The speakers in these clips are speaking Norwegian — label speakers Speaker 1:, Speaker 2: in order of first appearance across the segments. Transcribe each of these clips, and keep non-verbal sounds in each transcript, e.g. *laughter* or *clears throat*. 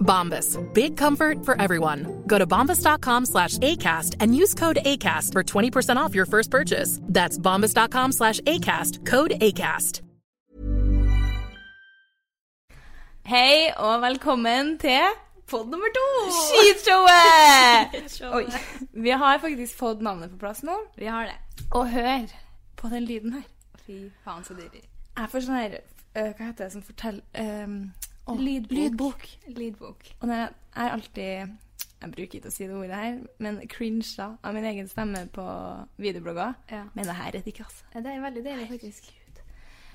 Speaker 1: Bombas. Big comfort for everyone. Go to bombas.com slash ACAST and use code ACAST for 20% off your first purchase. That's bombas.com slash ACAST. Code ACAST.
Speaker 2: Hei og velkommen til pod nummer to! *laughs* Skitshowet! Oi. Vi har faktisk fått navnet på plass nå.
Speaker 3: Vi har det.
Speaker 2: Og hør på den lyden her.
Speaker 3: Fy faen, så dyrer.
Speaker 2: Jeg får sånn her øh, Hva heter det som forteller eh,
Speaker 3: Lydbok.
Speaker 2: Lydbok.
Speaker 3: Lydbok.
Speaker 2: Og når jeg jeg er alltid Jeg bruker ikke å si det ordet her, men cringe da, av min egen stemme på videoblogger.
Speaker 3: Ja.
Speaker 2: Men det her er det ikke, altså.
Speaker 3: Ja, Det er veldig deilig, faktisk.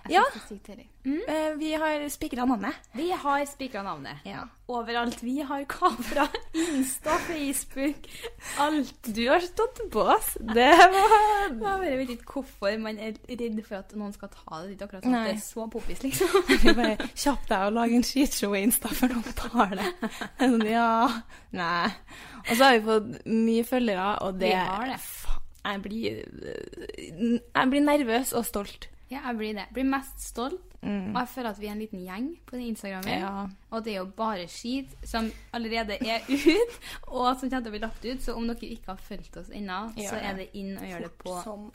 Speaker 3: Jeg
Speaker 2: Ja.
Speaker 3: synes det er sykt deilig.
Speaker 2: Eh, vi har spikra navnet.
Speaker 3: Vi har spikra navnet.
Speaker 2: Ja.
Speaker 3: Overalt. Vi har kamera, Insta, Facebook, alt.
Speaker 2: Du har stått på oss. Det
Speaker 3: *laughs*
Speaker 2: var
Speaker 3: Jeg bare vet ikke hvorfor man er redd for at noen skal ta det dit akkurat sånn.
Speaker 2: Nei.
Speaker 3: Det er så poppis, liksom.
Speaker 2: Vi bare Kjapp deg og lag en skitshow i Insta, for noen tar det. Jeg er Sånn, ja. Nei. Og så har vi fått mye følgere, og det
Speaker 3: Vi har det.
Speaker 2: Faen, Jeg blir Jeg blir nervøs og stolt.
Speaker 3: *laughs* Ja, jeg blir det. Blir mest stolt. Og jeg føler at vi er en liten gjeng på den Instagramen.
Speaker 2: Ja.
Speaker 3: Og det er jo bare skit som allerede er *laughs* ut, og som kommer til å bli lagt ut. Så om dere ikke har fulgt oss ennå, så
Speaker 2: det.
Speaker 3: er det inn og gjør det på
Speaker 2: som-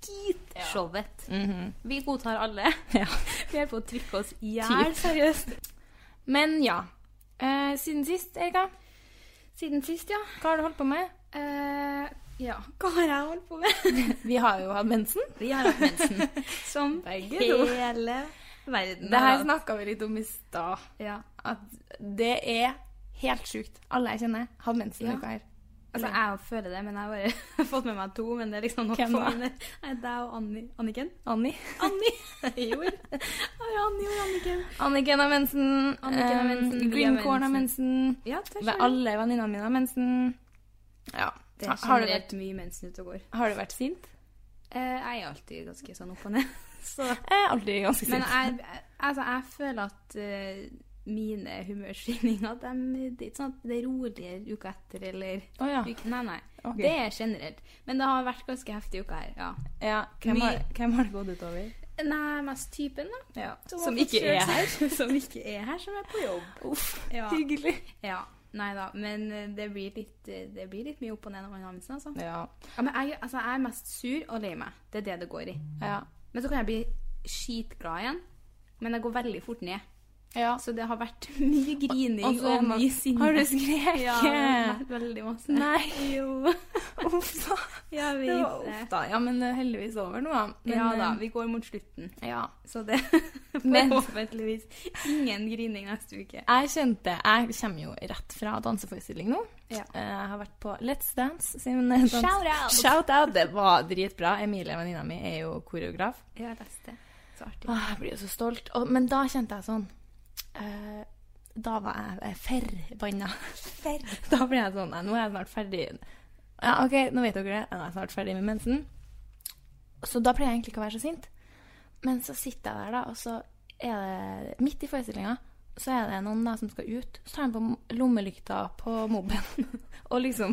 Speaker 3: skitshowet.
Speaker 2: Mm.
Speaker 3: Vi godtar alle. vi er på å trykke oss i hjel,
Speaker 2: Typ.
Speaker 3: seriøst.
Speaker 2: Men ja. Eh, siden sist, Erika,
Speaker 3: Siden sist, ja.
Speaker 2: hva har du holdt på med?
Speaker 3: Eh,
Speaker 2: *laughs*
Speaker 3: ja. Hva har jeg holdt på med?
Speaker 2: Vi har jo hatt mensen.
Speaker 3: vi har hatt *laughs* mensen. Som
Speaker 2: Begge to.
Speaker 3: hele verden.
Speaker 2: Det her
Speaker 3: har hatt.
Speaker 2: snakka vi litt om i stad.
Speaker 3: Ja.
Speaker 2: At det er helt sjukt. Alle jeg kjenner, hadde mensen.
Speaker 3: Ja.
Speaker 2: denne uka her.
Speaker 3: Altså, jeg jo føler det, men jeg har bare *laughs* fått med meg to. Men det er liksom nok
Speaker 2: Hvem
Speaker 3: for
Speaker 2: da?
Speaker 3: mine. Nei, deg og Anni. Anniken?
Speaker 2: Anni.
Speaker 3: Anni! *laughs* jo. Har Anni og Anniken.
Speaker 2: Anniken har mensen.
Speaker 3: Anniken har mensen,
Speaker 2: eh,
Speaker 3: vi har
Speaker 2: Greencorn har mensen.
Speaker 3: Ja, det
Speaker 2: Ve- Alle venninnene mine har mensen. Ja.
Speaker 3: Det
Speaker 2: Ha- har,
Speaker 3: er
Speaker 2: du vært,
Speaker 3: generelt mye mensen ute og går.
Speaker 2: har du vært sint?
Speaker 3: Eh, jeg er alltid ganske sånn opp og *laughs* ned. Så.
Speaker 2: Jeg er alltid ganske
Speaker 3: Men
Speaker 2: sint.
Speaker 3: jeg, jeg- altså, jeg føler at eh, mine humørsvingninger de, Det er ikke sånn at det er roligere uka etter eller
Speaker 2: Å ja.
Speaker 3: uke- Nei, nei.
Speaker 2: Ok.
Speaker 3: Det er generelt. Men det har vært ganske heftig uke her. ja.
Speaker 2: ja. Hvem, har,
Speaker 3: mye-
Speaker 2: hvem har det gått utover?
Speaker 3: Nei, mest typen, da.
Speaker 2: Ja.
Speaker 3: Som,
Speaker 2: Som
Speaker 3: har
Speaker 2: ikke
Speaker 3: forsøkt
Speaker 2: er her.
Speaker 3: seg- *laughs* som ikke er her, som er på jobb.
Speaker 2: Uff.
Speaker 3: Ja.
Speaker 2: Hyggelig.
Speaker 3: Ja, nei da. Men eh, det blir litt, eh, det blir litt mye opp og ned når man har mensen, altså.
Speaker 2: Ja.
Speaker 3: Ja, men jeg, altså, jeg er mest sur og lei meg. Det er det det går i.
Speaker 2: Ja.
Speaker 3: Men så kan jeg bli skitglad igjen. Men jeg går veldig fort ned.
Speaker 2: ja.
Speaker 3: Så det har vært mye grining
Speaker 2: Og- og
Speaker 3: og,
Speaker 2: så er man-
Speaker 3: mye sinne.
Speaker 2: Har du skreket?
Speaker 3: *laughs* Ja, ve- veldig masse.
Speaker 2: Nei.
Speaker 3: Jo.
Speaker 2: *laughs* Uff da.
Speaker 3: Jeg
Speaker 2: Det
Speaker 3: vet
Speaker 2: var
Speaker 3: det.
Speaker 2: uff da. Ja, men eh, heldigvis over nå, da. Men,
Speaker 3: ja da,
Speaker 2: eh,
Speaker 3: vi går mot slutten.
Speaker 2: Ja.
Speaker 3: Så det *laughs*
Speaker 2: Men-
Speaker 3: Forhåpentligvis ingen grining neste uke.
Speaker 2: Jeg kjente Jeg kommer jo rett fra danseforestilling nå.
Speaker 3: Ja.
Speaker 2: Eh, Jeg har vært på Let's Dance sin eh, dans...
Speaker 3: Shout out!
Speaker 2: Shout out! Det var dritbra. Emilie, venninna mi, er jo koreograf.
Speaker 3: Ja, lest det. Så artig.
Speaker 2: Åh, Ah, jeg blir jo så stolt. Og, men da kjente jeg sånn eh, Da var jeg eh, forbanna. *laughs* Da ble jeg sånn Nei, nå er jeg snart ferdig. Ja, OK, nå vet dere det. Nå er jeg snart ferdig med mensen. Så da pleier jeg egentlig ikke å være så sint. Men så sitter jeg der, da, og så er det midt i forestillinga så er det noen da som skal ut. Så tar han på m- lommelykta på moben *laughs* og liksom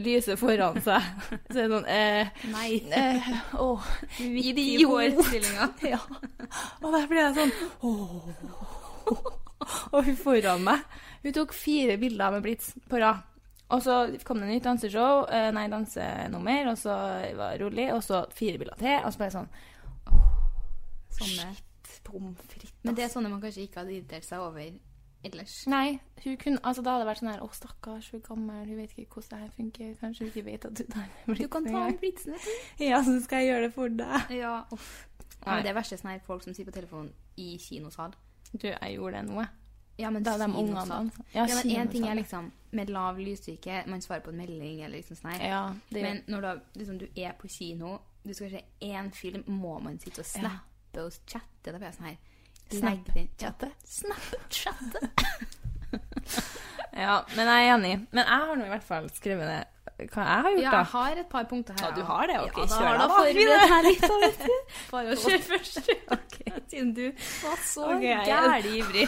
Speaker 2: lyset foran seg. Så er det sånn eh,
Speaker 3: Nei.
Speaker 2: *laughs* eh, Åh,
Speaker 3: *laughs* Midt i
Speaker 2: idiot.
Speaker 3: forestillinga. *laughs*
Speaker 2: Ja. Og der ble jeg sånn åh. Og hun foran meg Hun tok fire bilder med blitz på rad. Og så kom det nytt danseshow, eh, nei, dansenummer, og så var det rolig, og så fire bilder til, og så ble jeg sånn
Speaker 3: Sånne.
Speaker 2: Pommes frites.
Speaker 3: Men det er sånne man kanskje ikke hadde irritert seg over ellers.
Speaker 2: Nei, hun kunne, altså da hadde det vært sånn her Å, stakkars, hun er gammel, hun vet ikke hvordan det her funker. Kanskje hun ikke vet at du tar med
Speaker 3: Du kan
Speaker 2: blitzen
Speaker 3: ta
Speaker 2: engang.
Speaker 3: en blitsen, vet du.
Speaker 2: Ja, så skal jeg gjøre det for deg.
Speaker 3: Ja, uff. Ja,
Speaker 2: Nei.
Speaker 3: men det verste er sånn her folk som sitter på telefonen i kinosal.
Speaker 2: Du, jeg gjorde det nå.
Speaker 3: Ja, men
Speaker 2: Da de
Speaker 3: kinosal.
Speaker 2: ungene dansa. Ja, sånn.
Speaker 3: Ja, men en ting er
Speaker 2: kinosal.
Speaker 3: liksom Med lav lysstyrke, man svarer på en melding eller liksom sånn her.
Speaker 2: Ja, det
Speaker 3: Men når du, har- liksom, du er på kino, du skal se én film, må man sitte og snappe og chatte? Da blir jeg sånn her
Speaker 2: Snap.
Speaker 3: legg den-
Speaker 2: Chatte.
Speaker 3: Snapchatte.
Speaker 2: Ja, men jeg er enig. Men jeg har nå i hvert fall skrevet ned hva jeg har
Speaker 3: Ja,
Speaker 2: gjort,
Speaker 3: jeg
Speaker 2: da.
Speaker 3: har et par punkter her.
Speaker 2: Ja, du har det, ok,
Speaker 3: Ja, da
Speaker 2: kjør
Speaker 3: har
Speaker 2: da,
Speaker 3: da
Speaker 2: da.
Speaker 3: forberedt
Speaker 2: *laughs*
Speaker 3: meg litt, da, vet *laughs* du.
Speaker 2: Bare å kjøre først.
Speaker 3: *laughs* Siden du var så
Speaker 2: Ok, jeg er
Speaker 3: gæren ivrig.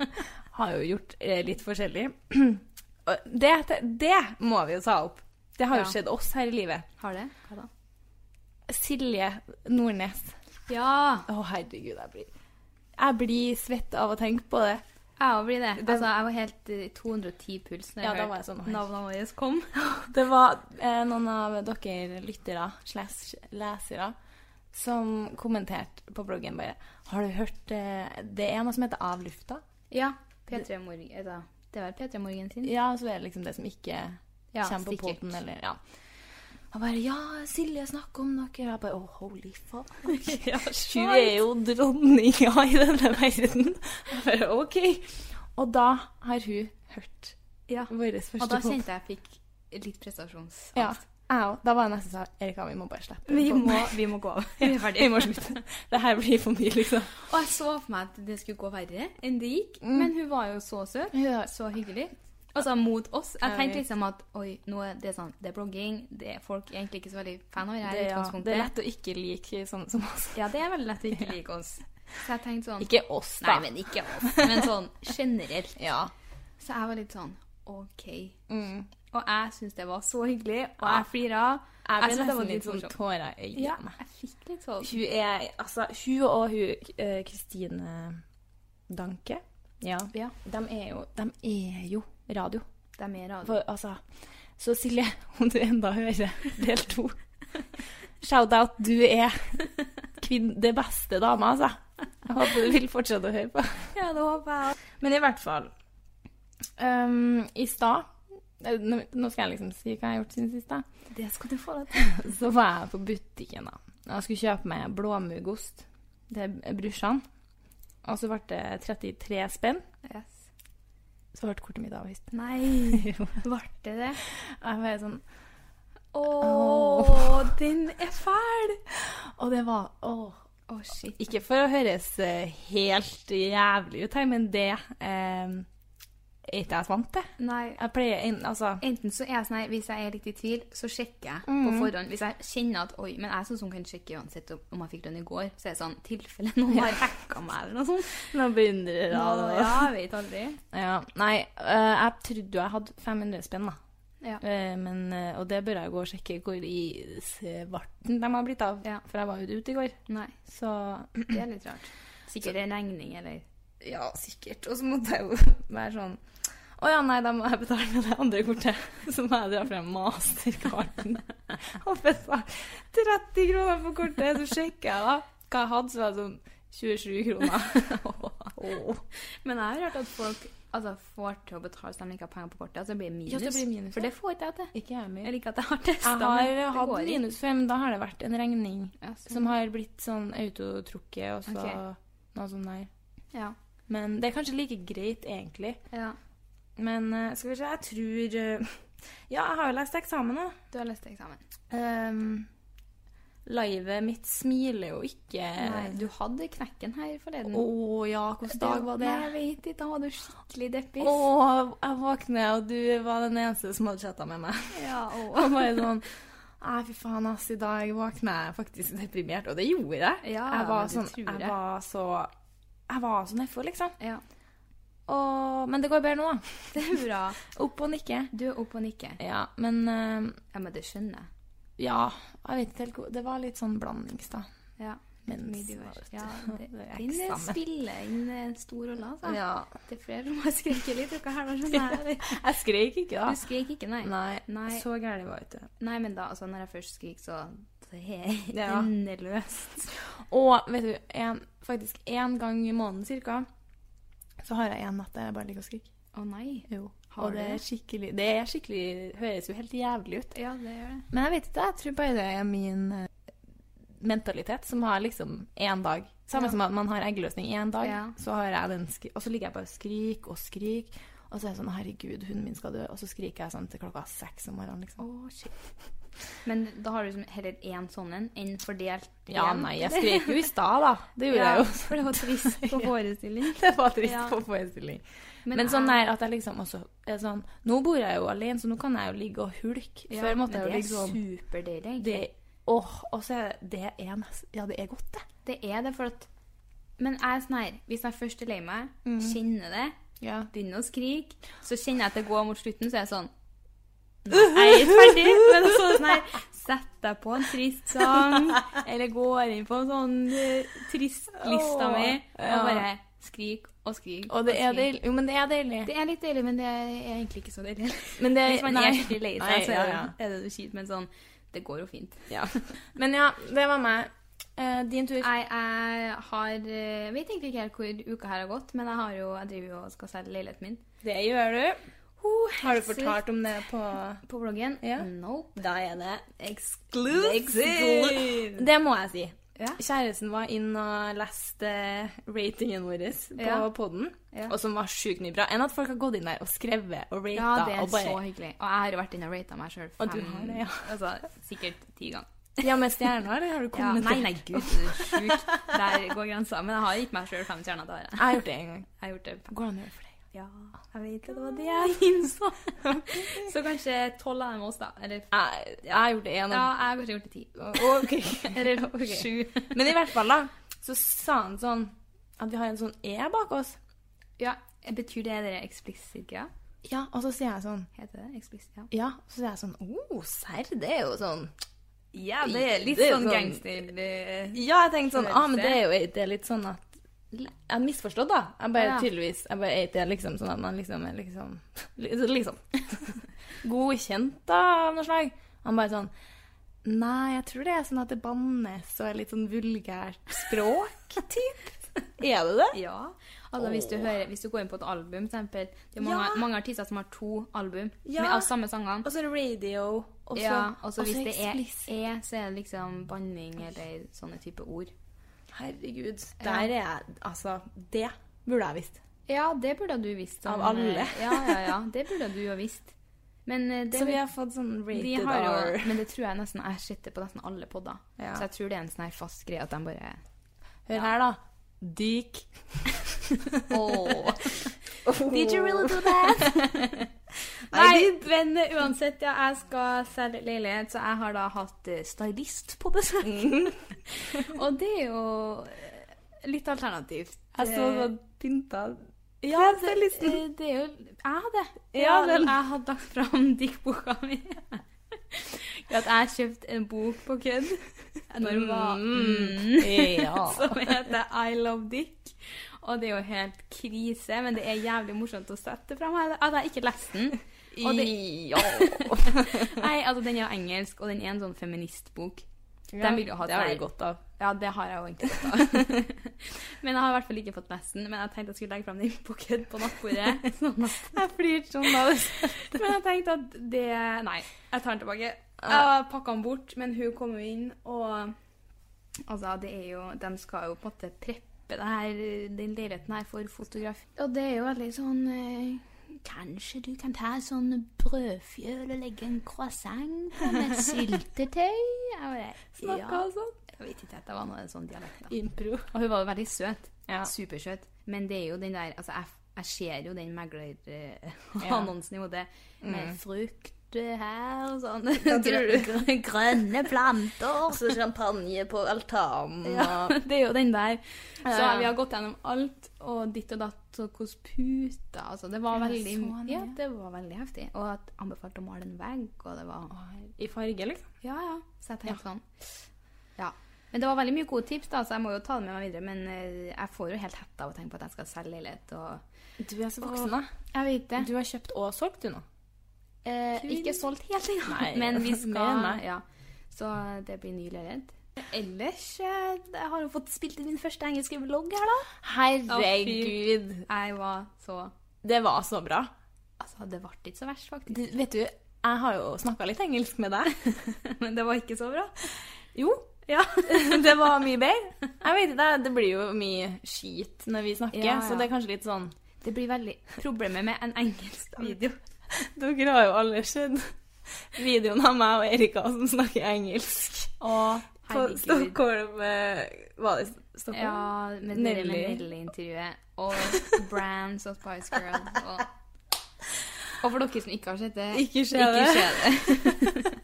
Speaker 2: *laughs* Har jo gjort eh, litt forskjellig. *clears throat* Og Det, det må vi jo ta opp. Det har jo
Speaker 3: Ja.
Speaker 2: skjedd oss her i livet.
Speaker 3: Har det? Hva da?
Speaker 2: Silje Nordnes.
Speaker 3: Ja,
Speaker 2: Å, herregud, jeg blir Jeg blir svett av å tenke på det.
Speaker 3: jeg òg blir det.
Speaker 2: Den-
Speaker 3: Altså, jeg var helt eh, 210 puls da
Speaker 2: Ja, da
Speaker 3: jeg
Speaker 2: var
Speaker 3: hørte
Speaker 2: jeg sånn, oi.
Speaker 3: navnene våre
Speaker 2: *laughs*
Speaker 3: kom.
Speaker 2: Det var eh, noen av dere lyttere slash lesere som kommenterte på bloggen bare Har du hørt eh, Det er noe som heter Av lufta.
Speaker 3: Ja. P3 Morgen eh, da. Det var P3 Morgen sin.
Speaker 2: Ja, så er det liksom det som ikke
Speaker 3: Ja,
Speaker 2: kommer på
Speaker 3: sikkert.
Speaker 2: poden, eller Ja. Og bare Ja, Silje, snakk om dere. Og jeg bare Å, holy
Speaker 3: *laughs*
Speaker 2: fuck. *laughs* Hun er jo dronninga i denne verden. Jeg bare OK. Og da har hun hørt
Speaker 3: Ja.
Speaker 2: vår første
Speaker 3: Og da
Speaker 2: podd.
Speaker 3: kjente jeg fikk litt prestasjonsangst.
Speaker 2: Ja, jeg òg. Da var jeg nesten sånn Erika, vi må bare slippe.
Speaker 3: Vi
Speaker 2: den
Speaker 3: må,
Speaker 2: podden.
Speaker 3: vi må gå
Speaker 2: *laughs*
Speaker 3: av. Vi er
Speaker 2: Vi
Speaker 3: ferdige.
Speaker 2: må slutte. Det her blir for mye, liksom.
Speaker 3: Og jeg så for meg at det skulle gå verre enn det gikk, men hun var jo så søt. Så hyggelig. Altså mot oss. Jeg
Speaker 2: Jeg vet.
Speaker 3: tenkte liksom at oi, nå er det sånn, det er blogging, det er folk egentlig ikke så veldig fan av det her i
Speaker 2: Det, ja, det
Speaker 3: utgangspunktet.
Speaker 2: er lett å ikke like sånn som oss.
Speaker 3: Ja, det er veldig lett å ikke like oss. Så jeg tenkte sånn
Speaker 2: Ikke oss,
Speaker 3: Nei,
Speaker 2: da.
Speaker 3: men ikke oss, men sånn generelt.
Speaker 2: Ja.
Speaker 3: Så jeg var litt sånn OK.
Speaker 2: Mm.
Speaker 3: Og jeg syns det var så hyggelig, og
Speaker 2: Ja.
Speaker 3: jeg flira.
Speaker 2: Jeg ble
Speaker 3: synes det var
Speaker 2: nesten litt sånn
Speaker 3: morsomt.
Speaker 2: tårer i
Speaker 3: Ja,
Speaker 2: øynene.
Speaker 3: jeg fikk litt sånn
Speaker 2: Hun er Altså, hun og hun eh, Kristine Danke, ja,
Speaker 3: Ja.
Speaker 2: De, er jo, de er jo radio.
Speaker 3: Det er mer av det.
Speaker 2: For, altså, så Silje, *laughs* om du enda hører del to Shout-out, du er kvinn, det beste dama, altså. Jeg håper du vil fortsette å høre på.
Speaker 3: Ja, det håper jeg òg.
Speaker 2: Men i hvert fall ehm, I stad eh, Nå nå skal jeg liksom si hva jeg har gjort siden sist. da.
Speaker 3: Det skal du få deg til.
Speaker 2: Så var jeg på butikken da. Jeg skulle kjøpe meg blåmuggost til brorsan. Og så ble det 33 spenn.
Speaker 3: Yes.
Speaker 2: Så ble kortet mitt avvist.
Speaker 3: *laughs* Nei,
Speaker 2: Jo.
Speaker 3: ble det det?
Speaker 2: Og jeg var sånn,
Speaker 3: Å,
Speaker 2: Åh.
Speaker 3: den er fæl!
Speaker 2: og det var åh.
Speaker 3: Å, shit.
Speaker 2: Ikke for å høres eh, helt jævlig ut her, men det eh, er ikke jeg så vant til.
Speaker 3: Nei.
Speaker 2: Jeg pleier en- altså
Speaker 3: Enten så er jeg sånn her, hvis jeg er litt i tvil, så sjekker jeg
Speaker 2: Mm.
Speaker 3: på forhånd. Hvis jeg kjenner at oi, men jeg er sånn som kan sjekke uansett om- om jeg fikk lønn i går, så er det sånn tilfelle noen har hacka meg eller noe sånt.
Speaker 2: Noen beundrere
Speaker 3: Nå,
Speaker 2: og
Speaker 3: ja, jeg vet aldri.
Speaker 2: ja, Nei, eh, jeg trodde jo jeg hadde 500 spenn, da.
Speaker 3: Ja.
Speaker 2: Eh, men, eh, og det bør jeg gå og sjekke hvor i svarten de har blitt av.
Speaker 3: Ja.
Speaker 2: For jeg var jo ute i går.
Speaker 3: Nei,
Speaker 2: Så
Speaker 3: det er litt rart. Sikkert en regning,
Speaker 2: *laughs*
Speaker 3: eller
Speaker 2: Ja, sikkert. Og så måtte jeg jo være sånn Å ja, nei, da må jeg betale med det andre kortet. *laughs* Så må jeg dra frem masterkarten. *laughs* og betale 30 kroner for kortet. Så sjekker jeg da hva jeg hadde, så var det sånn 27 kroner.
Speaker 3: Men jeg har hørt at folk altså, får til å betale så de ikke har penger på kortet, altså det blir
Speaker 2: *laughs*
Speaker 3: minus.
Speaker 2: Ja, det blir minus,
Speaker 3: For
Speaker 2: ja.
Speaker 3: det får ikke jeg til.
Speaker 2: Ikke jeg mer.
Speaker 3: Eller ikke at jeg har testa,
Speaker 2: Jeg
Speaker 3: men
Speaker 2: har
Speaker 3: det
Speaker 2: hatt
Speaker 3: går ikke.
Speaker 2: minus før, men da har det vært en regning
Speaker 3: Ja, sånn.
Speaker 2: som har blitt sånn autotrukket og så
Speaker 3: Ok.
Speaker 2: noe sånn der.
Speaker 3: Ja.
Speaker 2: Men det er kanskje like greit, egentlig.
Speaker 3: ja.
Speaker 2: Men eh, skal vi se, jeg tror eh, *laughs* Ja, jeg har jo lest eksamen nå.
Speaker 3: Du har lest eksamen.
Speaker 2: Um, livet mitt smiler jo ikke.
Speaker 3: Nei, du hadde knekken her forleden.
Speaker 2: Eh, Å ja, hvilken dag var det?
Speaker 3: Nei, jeg vet ikke. Da var du skikkelig deppis.
Speaker 2: Å, jeg våkner, og du var den eneste som hadde chatta med meg. *laughs*
Speaker 3: Ja,
Speaker 2: Og
Speaker 3: å.
Speaker 2: bare sånn Nei, fy faen, ass. I dag våkner jeg faktisk deprimert. Og det gjorde jeg.
Speaker 3: *laughs* Ja,
Speaker 2: jeg var
Speaker 3: men det
Speaker 2: sånn
Speaker 3: tror
Speaker 2: Jeg
Speaker 3: jeg.
Speaker 2: var så Jeg var så nedfor, liksom.
Speaker 3: ja.
Speaker 2: Og, men det går bedre nå. da.
Speaker 3: Det er bra.
Speaker 2: Opp og nikke.
Speaker 3: Du er oppe og nikker.
Speaker 2: Ja, men eh,
Speaker 3: Ja, men det skjønner jeg.
Speaker 2: Ja, jeg vet ikke helt hvor Det var litt sånn blandings, da.
Speaker 3: Ja.
Speaker 2: Mens,
Speaker 3: Mye divers. Ja, det,
Speaker 2: *laughs* det er
Speaker 3: den eh,
Speaker 2: eksamen.
Speaker 3: spiller inn en stor rolle, altså.
Speaker 2: Ja.
Speaker 3: Det er flere som har skreket litt. Dere her, nå skjønner
Speaker 2: *laughs*
Speaker 3: jeg.
Speaker 2: Jeg skrek ikke,
Speaker 3: Du skrek ikke, nei.
Speaker 2: Nei,
Speaker 3: Nei.
Speaker 2: så gærent var jeg ikke.
Speaker 3: Nei, men da, altså, når jeg først skriker, så det er det
Speaker 2: Ja.
Speaker 3: endeløst.
Speaker 2: Og vet du, en, faktisk én gang i måneden cirka, så har jeg en natt der jeg bare ligger og skriker.
Speaker 3: Å nei.
Speaker 2: og det er skikkelig Det er skikkelig høres jo helt jævlig ut.
Speaker 3: Ja, det gjør det.
Speaker 2: Men jeg vet ikke, jeg tror bare det er min eh, mentalitet som har liksom én dag. Samme
Speaker 3: Ja.
Speaker 2: som at man har eggløsning én dag,
Speaker 3: Ja.
Speaker 2: så har jeg den skri Og så ligger jeg bare og skriker og skriker. Og så er jeg sånn Herregud, hunden min skal dø. Og så skriker jeg sånn til klokka seks om morgenen, liksom.
Speaker 3: Men da har du liksom heller én sånn en enn fordelt
Speaker 2: Ja, nei, jeg skrek jo i stad, da. Det gjorde
Speaker 3: *laughs* Ja,
Speaker 2: jeg jo. *laughs*
Speaker 3: for det var trist på forestilling.
Speaker 2: Det var trist
Speaker 3: Ja.
Speaker 2: på forestilling.
Speaker 3: Men
Speaker 2: Men, sånn
Speaker 3: jeg-
Speaker 2: der at jeg liksom også er sånn Nå bor jeg jo alene, så nå kan jeg jo ligge og hulke.
Speaker 3: Ja,
Speaker 2: Før
Speaker 3: men
Speaker 2: måtte jeg jo
Speaker 3: det er
Speaker 2: liksom
Speaker 3: superdeilig. egentlig.
Speaker 2: det, Åh, og så er det det er nest, Ja, det er godt, det.
Speaker 3: Det er det, for at Men jeg er sånn her, hvis jeg først er lei meg,
Speaker 2: Mm.
Speaker 3: kjenner det,
Speaker 2: Ja.
Speaker 3: begynner å skrike, så kjenner jeg at det går mot slutten, så er jeg sånn
Speaker 2: *laughs*
Speaker 3: Nei, jeg er ikke ferdig, men så er det sånn her Sett deg på en trist sang, eller går inn på en sånn eh, tristlista
Speaker 2: Åh,
Speaker 3: mi,
Speaker 2: ja.
Speaker 3: og bare skrik og skrik.
Speaker 2: Og det er
Speaker 3: skrik.
Speaker 2: deilig. Jo, men det er deilig.
Speaker 3: Det er litt deilig, men det er egentlig ikke så deilig.
Speaker 2: Men det-
Speaker 3: *laughs* Hvis man
Speaker 2: nei.
Speaker 3: er skikkelig lei
Speaker 2: Nei,
Speaker 3: seg, så
Speaker 2: ja,
Speaker 3: er det,
Speaker 2: ja.
Speaker 3: er det noe kjipt, men sånn Det går jo fint.
Speaker 2: Ja. Men ja, det var meg. Eh, din tur.
Speaker 3: Jeg, jeg har eh, vet egentlig ikke helt hvor uka her har gått, men jeg, har jo, jeg driver jo og skal selge leiligheten min.
Speaker 2: Det gjør du. Har du fortalt om det på
Speaker 3: På bloggen?
Speaker 2: Ja.
Speaker 3: Nope.
Speaker 2: Da er det
Speaker 3: Exclusive!
Speaker 2: Det må jeg si.
Speaker 3: Ja.
Speaker 2: Kjæresten var inn og leste ratingen vår på
Speaker 3: Ja.
Speaker 2: podden,
Speaker 3: Ja.
Speaker 2: og som var sjukt mye bra. Enn at folk har gått inn der og skrevet og
Speaker 3: Ja,
Speaker 2: rata
Speaker 3: det er
Speaker 2: og bare
Speaker 3: så hyggelig. Og jeg har jo vært inne og rata meg sjøl
Speaker 2: Og du har det, ja.
Speaker 3: *laughs* altså, sikkert ti ganger.
Speaker 2: *laughs* Ja, med stjerner, eller har du
Speaker 3: Ja,
Speaker 2: kommet
Speaker 3: nei, nei, gud, det er sjukt. Der går grensa. Men jeg har gitt meg sjøl fem stjerner. Det har jeg.
Speaker 2: Jeg har gjort det en gang.
Speaker 3: Jeg har gjort det
Speaker 2: Går det an å gjøre det flere
Speaker 3: Ja, jeg vet det. Det var det jeg *laughs* innså. Så kanskje tolv av dem oss, da. Eller ja,
Speaker 2: ganger? Jeg har gjort det en
Speaker 3: jeg
Speaker 2: gang.
Speaker 3: har kanskje gjort det ti.
Speaker 2: Ok.
Speaker 3: *laughs* Eller sju.
Speaker 2: Men i hvert fall, da, så sa han sånn at vi har en sånn E bak oss.
Speaker 3: Ja, Betyr det dere explicit greia?
Speaker 2: Ja, og så sier jeg sånn
Speaker 3: Heter det explicit? Ja.
Speaker 2: Ja, og så sier jeg sånn oh, serr, det er jo sånn
Speaker 3: ja, det er litt
Speaker 2: Det er
Speaker 3: sånn
Speaker 2: sånn-
Speaker 3: gangster... eh,
Speaker 2: Ja, jeg tenkte sånn
Speaker 3: Følelse.
Speaker 2: ah, men det er jo det er litt sånn at Jeg har misforstått, da. Jeg bare
Speaker 3: Ja.
Speaker 2: tydeligvis jeg bare, Det er liksom sånn at man liksom er liksom *laughs* Liksom. Godkjent, da, av noe slag. Han bare sånn Nei, jeg tror det er sånn at det bannes og er litt sånn vulgært *laughs* språk, typ. Er det det?
Speaker 3: Ja. Altså, hvis, du hører, hvis du går inn på et album, for eksempel Det er mange,
Speaker 2: Ja.
Speaker 3: mange artister som har to album
Speaker 2: Ja.
Speaker 3: med av samme sangene.
Speaker 2: Og så er det radio. Og så,
Speaker 3: ja, og så
Speaker 2: og så
Speaker 3: hvis det er
Speaker 2: explicit.
Speaker 3: E, så er det liksom banning eller sånne type ord.
Speaker 2: Herregud. Der er jeg Altså, det burde jeg visst.
Speaker 3: Ja, det burde du visst. eh,
Speaker 2: Av alle.
Speaker 3: *laughs* ja, ja, ja. Det burde du jo visst. Men eh, det,
Speaker 2: Så vi har fått sånn
Speaker 3: vi
Speaker 2: rated
Speaker 3: har jo,
Speaker 2: R.
Speaker 3: *laughs* Men det tror jeg nesten jeg sitter på nesten alle podder.
Speaker 2: Ja.
Speaker 3: Så jeg tror det er en sånn her fast greie at de bare
Speaker 2: Hør her, da. Dyk.
Speaker 3: Åh.
Speaker 2: Did you really do
Speaker 3: *laughs* Nei, men eh, uansett, ja, jeg skal selge leilighet, så jeg har da hatt eh, stylist på besøk.
Speaker 2: Mm.
Speaker 3: *laughs* og det er jo eh, litt alternativt.
Speaker 2: Jeg så sånn
Speaker 3: Eh,
Speaker 2: og pynta Ja,
Speaker 3: det,
Speaker 2: stylisten.
Speaker 3: eh, det er jo Jeg hadde.
Speaker 2: Ja, vel.
Speaker 3: Jeg hadde lagt fram *laughs* diktboka mi. At jeg kjøpte en bok på kødd. Når hun var mm,
Speaker 2: Ja.
Speaker 3: *laughs* Som heter I Love Dick. Og det er jo helt krise, men det er jævlig morsomt å sette fram. Jeg hadde jeg ikke lest den. Og det, Nei, altså Den er jo engelsk, og den er en sånn feministbok. Den vil jo ha
Speaker 2: det har
Speaker 3: seg-
Speaker 2: jeg godt av.
Speaker 3: Ja, det har jeg jo egentlig godt av. *laughs* men jeg har i hvert fall ikke fått lest den. Men jeg tenkte jeg skulle legge fram den på kødd på *laughs* nattbordet. sånn at
Speaker 2: Jeg flirte sånn da.
Speaker 3: men jeg tenkte at det Nei, jeg tar den tilbake. Jeg pakka den bort, men hun kom jo inn, og Altså, det er jo De skal jo på en måte preppe det her, den leiligheten her for fotografi. Og det er jo veldig sånn eh, Kanskje du kan ta sånn brødfjøl og legge en croissant på med syltetøy? *laughs* Jeg bare,
Speaker 2: Snakka og sånn.
Speaker 3: Jeg vet ikke at det var noe sånn dialekt, da.
Speaker 2: Impro.
Speaker 3: Og hun var jo veldig søt.
Speaker 2: Ja.
Speaker 3: Supersøt. Men det er jo den der altså jeg, jeg ser jo den meglerannonsen eh,
Speaker 2: Ja. Mm.
Speaker 3: annonsen i hodet med frukt
Speaker 2: hjerte her og sånn.
Speaker 3: *laughs* tror du?
Speaker 2: Grø- Grønne planter. Og så champagne på altanen.
Speaker 3: Ja,
Speaker 2: og-
Speaker 3: *laughs* det er jo den der. Så
Speaker 2: Ja.
Speaker 3: vi har gått gjennom alt, og ditt og datt, og hvordan puter altså, det, var
Speaker 2: Ja,
Speaker 3: veldig,
Speaker 2: sånn,
Speaker 3: ja,
Speaker 2: ja.
Speaker 3: det var veldig heftig. Og jeg anbefalte å male en vegg, og det var
Speaker 2: I farge, liksom.
Speaker 3: Ja, ja. Så jeg tenkte sånn Ja. Men det var veldig mye gode tips, da, så jeg må jo ta det med meg videre. Men eh, jeg får jo helt hetta av å tenke på at jeg skal selge leilighet og
Speaker 2: Du er så
Speaker 3: voksen,
Speaker 2: da.
Speaker 3: Jeg vet det.
Speaker 2: Du har kjøpt og solgt, du nå.
Speaker 3: Eh, ikke solgt helt ennå,
Speaker 2: Nei,
Speaker 3: *laughs* men vi
Speaker 2: men
Speaker 3: skal
Speaker 2: nei.
Speaker 3: ja. Så det blir ny leilighet. Ellers eh, jeg har jo fått spilt inn min første engelske vlogg her, da.
Speaker 2: Herregud.
Speaker 3: Jeg var så
Speaker 2: det var så bra.
Speaker 3: Altså, det ble ikke så verst, faktisk.
Speaker 2: Du, vet du, jeg har jo snakka litt engelsk med deg.
Speaker 3: *laughs* Men det var ikke så bra.
Speaker 2: Jo.
Speaker 3: Ja.
Speaker 2: *laughs* Det var mye
Speaker 3: *laughs*
Speaker 2: bedre. Jeg vet ikke, det blir jo mye skit når vi snakker,
Speaker 3: Ja, ja.
Speaker 2: så det er kanskje litt sånn
Speaker 3: Det blir veldig Problemet med en engelsk video
Speaker 2: Dere har jo alle sett videoen av meg og Erika som snakker engelsk.
Speaker 3: Å,
Speaker 2: På
Speaker 3: herregud.
Speaker 2: Stockholm eh, Var det Stockholm?
Speaker 3: Ja, med det
Speaker 2: Nelly.
Speaker 3: lille Nelly-intervjuet.
Speaker 2: *laughs*
Speaker 3: Og Brands og Spice Girls. Og, og for dere som ikke har sett det
Speaker 2: Ikke se det.
Speaker 3: ikke
Speaker 2: *laughs*
Speaker 3: se det.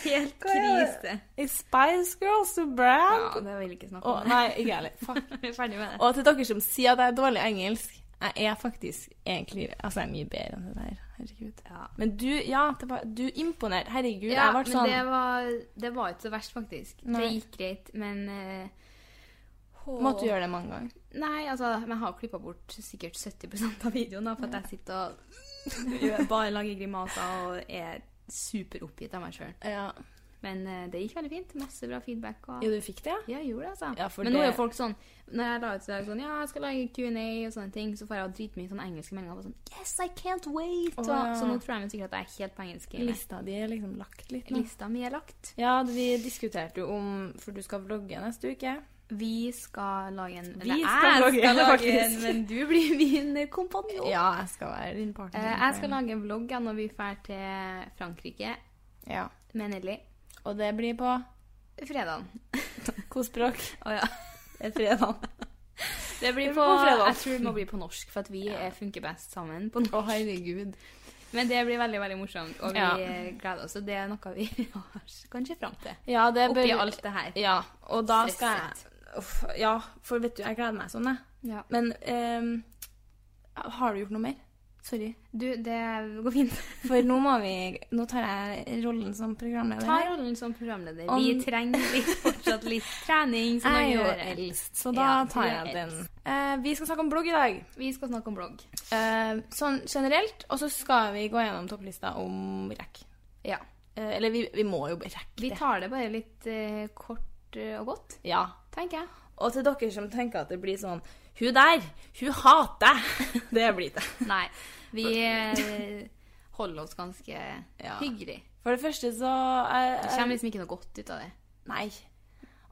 Speaker 3: Helt
Speaker 2: Hva er det?
Speaker 3: *laughs* krise.
Speaker 2: I Spice Girls og
Speaker 3: Ja,
Speaker 2: Brand.
Speaker 3: det vil jeg ikke snakke
Speaker 2: Å,
Speaker 3: om.
Speaker 2: nei, ikke heller. Fuck.
Speaker 3: Vi er ferdig med det.
Speaker 2: Og til dere som sier at jeg er dårlig i engelsk Jeg er faktisk egentlig Altså, jeg er mye bedre enn det der. Herregud.
Speaker 3: Ja.
Speaker 2: Men du, ja, det var, du imponerte. Herregud,
Speaker 3: Ja,
Speaker 2: jeg ble
Speaker 3: men
Speaker 2: sånn
Speaker 3: det, var, det var ikke så verst, faktisk. Det
Speaker 2: Nei.
Speaker 3: gikk greit, men eh, hå-
Speaker 2: Måtte du gjøre det mange ganger?
Speaker 3: Nei, altså, men jeg har klippa bort sikkert 70 av videoen, da, for at jeg sitter og *laughs* gjør- bare lager grimaser og er superoppgitt av meg sjøl.
Speaker 2: Ja.
Speaker 3: Men eh, det gikk veldig fint. Masse bra feedback. Og...
Speaker 2: ja, du fikk det, ja?
Speaker 3: Ja, jeg gjorde det, altså.
Speaker 2: Ja, for
Speaker 3: Men nå er
Speaker 2: det-
Speaker 3: jo folk sånn Når jeg la ut så er det sånn Ja, jeg skal lage Q&A og sånne ting, så får jeg jo dritmye sånne engelske meldinger. Bare sånn Yes, I can't wait!
Speaker 2: Å,
Speaker 3: og,
Speaker 2: ja.
Speaker 3: Så nå tror jeg vel sikkert at jeg er helt på engelsk. i meg.
Speaker 2: Lista di er liksom lagt litt nå.
Speaker 3: Lista mi er lagt.
Speaker 2: Ja, vi diskuterte jo om For du skal vlogge neste uke.
Speaker 3: Vi skal lage en
Speaker 2: Vi
Speaker 3: eller jeg
Speaker 2: skal lage en,
Speaker 3: en,
Speaker 2: faktisk.
Speaker 3: men du blir *laughs* min kompanjong.
Speaker 2: Ja, jeg skal være din partner.
Speaker 3: Eh, jeg skal lage en vlogg ja, når vi drar til Frankrike
Speaker 2: Ja.
Speaker 3: med Nelly.
Speaker 2: Og det blir på
Speaker 3: Fredagen.
Speaker 2: hvilket språk?
Speaker 3: Å ja.
Speaker 2: Det er fredag.
Speaker 3: Det blir
Speaker 2: Det blir
Speaker 3: på,
Speaker 2: på fredag.
Speaker 3: Jeg tror det må bli på norsk, for at vi eh, funker best sammen på norsk.
Speaker 2: Å, herregud.
Speaker 3: Men det blir veldig veldig morsomt, og vi
Speaker 2: Ja.
Speaker 3: eh, gleder oss. Og det er noe vi *laughs* har kanskje fram til.
Speaker 2: Ja, det bør
Speaker 3: Oppi alt det her.
Speaker 2: Ja, og da skal
Speaker 3: Stresset.
Speaker 2: jeg Uff, Ja, for vet du, jeg gleder meg sånn, jeg.
Speaker 3: Ja.
Speaker 2: Men ehm, har du gjort noe mer? Sorry.
Speaker 3: Du, det går fint.
Speaker 2: For nå må vi Nå tar jeg rollen som programleder.
Speaker 3: Ta rollen som programleder.
Speaker 2: Om-
Speaker 3: Vi trenger litt, fortsatt
Speaker 2: *laughs*
Speaker 3: litt trening. som
Speaker 2: jeg er
Speaker 3: vi
Speaker 2: jo
Speaker 3: gjør.
Speaker 2: eldst, så da
Speaker 3: Ja, du
Speaker 2: tar
Speaker 3: er
Speaker 2: jeg den.
Speaker 3: eldst.
Speaker 2: Eh, vi skal snakke om blogg i dag.
Speaker 3: Vi skal snakke om blogg.
Speaker 2: Eh, sånn generelt. Og så skal vi gå gjennom topplista om REC.
Speaker 3: Ja.
Speaker 2: Eh, eller vi, vi må jo rekke
Speaker 3: Vi
Speaker 2: det.
Speaker 3: tar det bare litt eh, kort eh, og godt,
Speaker 2: Ja.
Speaker 3: tenker jeg.
Speaker 2: Og til dere som tenker at det blir sånn Hun der, hun hater jeg!» *laughs* Det blir det.
Speaker 3: Nei. Vi *laughs* eh, holder oss ganske
Speaker 2: Ja.
Speaker 3: hyggelig.
Speaker 2: For det første så eh,
Speaker 3: Det kommer liksom ikke noe godt ut av det.
Speaker 2: Nei.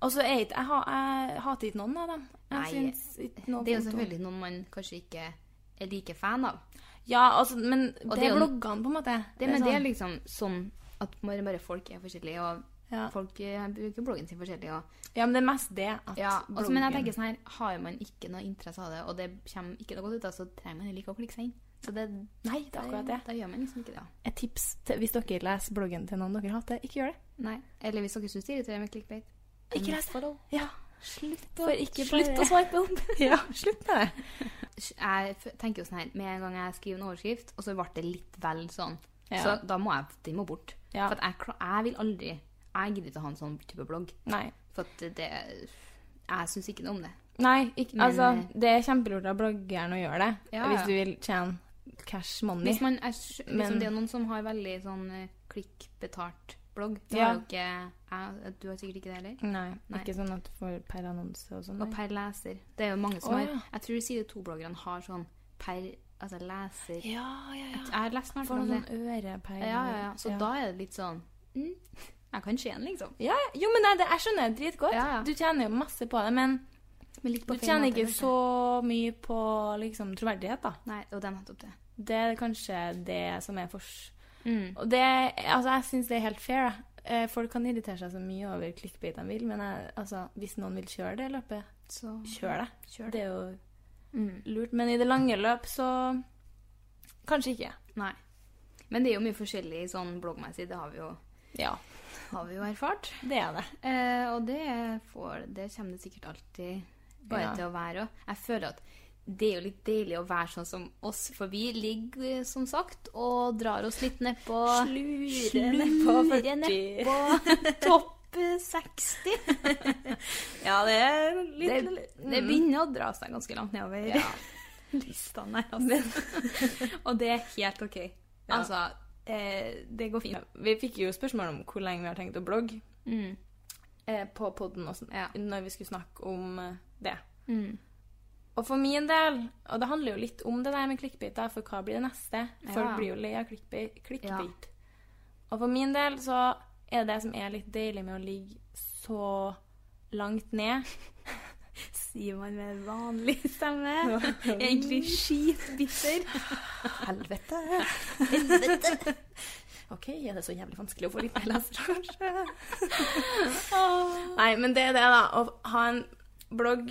Speaker 2: Og så er jeg ikke Jeg, ha, jeg hater ikke noen av dem. Jeg
Speaker 3: Nei.
Speaker 2: syns ikke noe
Speaker 3: Det er jo
Speaker 2: vondt om-
Speaker 3: selvfølgelig noen man kanskje ikke er like fan av.
Speaker 2: Ja, altså, men
Speaker 3: Og
Speaker 2: det
Speaker 3: det er
Speaker 2: er
Speaker 3: jo-
Speaker 2: bloggene, på en måte.
Speaker 3: Det, men det er
Speaker 2: sånn-
Speaker 3: liksom sånn at bare, bare folk er forskjellige, og
Speaker 2: Ja.
Speaker 3: folk eh, bruker bloggen sin forskjellig. Og,
Speaker 2: ja, men det er mest det at
Speaker 3: ja,
Speaker 2: bloggen
Speaker 3: altså, men jeg tenker sånn her, har man ikke noe interesse av det, og det kommer ikke noe godt ut, av, så trenger man heller ikke å klikke seg inn. Så det,
Speaker 2: Nei, det er akkurat det.
Speaker 3: Da gjør man liksom ikke det. da.
Speaker 2: Et tips til, hvis dere leser bloggen til noen dere hater, ikke gjør det.
Speaker 3: Nei. Eller hvis dere syns det irriterer med clickbait.
Speaker 2: Ikke les det.
Speaker 3: Unfollow.
Speaker 2: Ja. Slutt å,
Speaker 3: slutt å
Speaker 2: swipe opp. *laughs* ja, slutt med det.
Speaker 3: Jeg f- tenker jo sånn her, med en gang jeg skriver en overskrift, og så ble det litt vel sånn,
Speaker 2: Ja.
Speaker 3: så da må jeg, den må bort.
Speaker 2: Ja.
Speaker 3: For at jeg, kla- jeg vil aldri, jeg gidder ikke å ha en sånn type blogg.
Speaker 2: Nei.
Speaker 3: For at det, jeg syns ikke noe om det.
Speaker 2: Nei, ikke,
Speaker 3: Men-
Speaker 2: altså, det er kjempelurt av bloggeren å gjøre det.
Speaker 3: Ja,
Speaker 2: Hvis
Speaker 3: ja.
Speaker 2: du vil tjene cash money.
Speaker 3: Hvis man er, s-
Speaker 2: Men-
Speaker 3: liksom, det er noen som har veldig sånn eh, klikkbetalt blogg. Det
Speaker 2: Ja.
Speaker 3: har jo ikke jeg. Du har sikkert ikke det heller.
Speaker 2: Nei,
Speaker 3: Nei.
Speaker 2: ikke sånn at du får per annonse og sånn.
Speaker 3: Og per leser. Det er jo mange som
Speaker 2: Å, ja.
Speaker 3: har Jeg tror side to-bloggerne har sånn per altså leser
Speaker 2: Ja, ja, ja.
Speaker 3: Jeg har lest meg
Speaker 2: Får
Speaker 3: om det.
Speaker 2: noen sånn ørepeil.
Speaker 3: Ja, ja, ja. Så da er det litt sånn mm, Jeg kan se den, liksom.
Speaker 2: Ja, ja. Jo, men nei, det, jeg skjønner det dritgodt.
Speaker 3: Ja, ja.
Speaker 2: Du tjener jo masse på det, men
Speaker 3: Men litt
Speaker 2: du
Speaker 3: på feil
Speaker 2: tjener
Speaker 3: måte,
Speaker 2: ikke
Speaker 3: kanskje.
Speaker 2: så mye på liksom, troverdighet, da.
Speaker 3: Nei, og det er nettopp det.
Speaker 2: Det er kanskje det som er fors...
Speaker 3: Mm.
Speaker 2: Og det, altså, jeg syns det er helt fair. jeg. Eh, Folk kan irritere seg så mye over clickbait de vil, men jeg, altså, hvis noen vil kjøre det løpet,
Speaker 3: Så
Speaker 2: kjør det.
Speaker 3: kjør det.
Speaker 2: Det er jo
Speaker 3: Mm.
Speaker 2: lurt. Men i det lange løp, så kanskje ikke.
Speaker 3: Nei. Men det er jo mye forskjellig sånn bloggmessig, det har vi jo,
Speaker 2: Ja,
Speaker 3: har vi jo erfart.
Speaker 2: det er det.
Speaker 3: Eh, og det, får, det kommer det sikkert alltid bare
Speaker 2: Ja.
Speaker 3: til å være òg. Jeg føler at det er jo litt deilig å være sånn som oss, for vi ligger eh, som sagt og drar oss litt nedpå
Speaker 2: Slure
Speaker 3: Slure nedpå *laughs* topp eh, 60.
Speaker 2: Ja, det er litt Mm.
Speaker 3: Det, det begynner å dra seg ganske langt nedover
Speaker 2: Ja.
Speaker 3: *laughs* listene her, altså. *laughs* og det er helt OK.
Speaker 2: Ja.
Speaker 3: Altså eh, Det går fint.
Speaker 2: Ja, Vi fikk jo spørsmål om hvor lenge vi har tenkt å blogge
Speaker 3: Mm.
Speaker 2: eh, på podden og sånn,
Speaker 3: Ja.
Speaker 2: når vi skulle snakke om eh, det.
Speaker 3: Mm.
Speaker 2: Og for min del, og det handler jo litt om det der med clickbait, da, for hva blir det neste? Folk
Speaker 3: Ja.
Speaker 2: blir jo lei av clickbait. clickbait. Og for min del så er det som er litt deilig med å ligge så langt ned
Speaker 3: sier man med vanlig stemme. Egentlig
Speaker 2: Mm.
Speaker 3: skitbitter.
Speaker 2: Helvete! *laughs* OK, er det så jævlig vanskelig å få litt mer lesere,
Speaker 3: *laughs*
Speaker 2: kanskje? Nei, men det er det, da. Å ha en blogg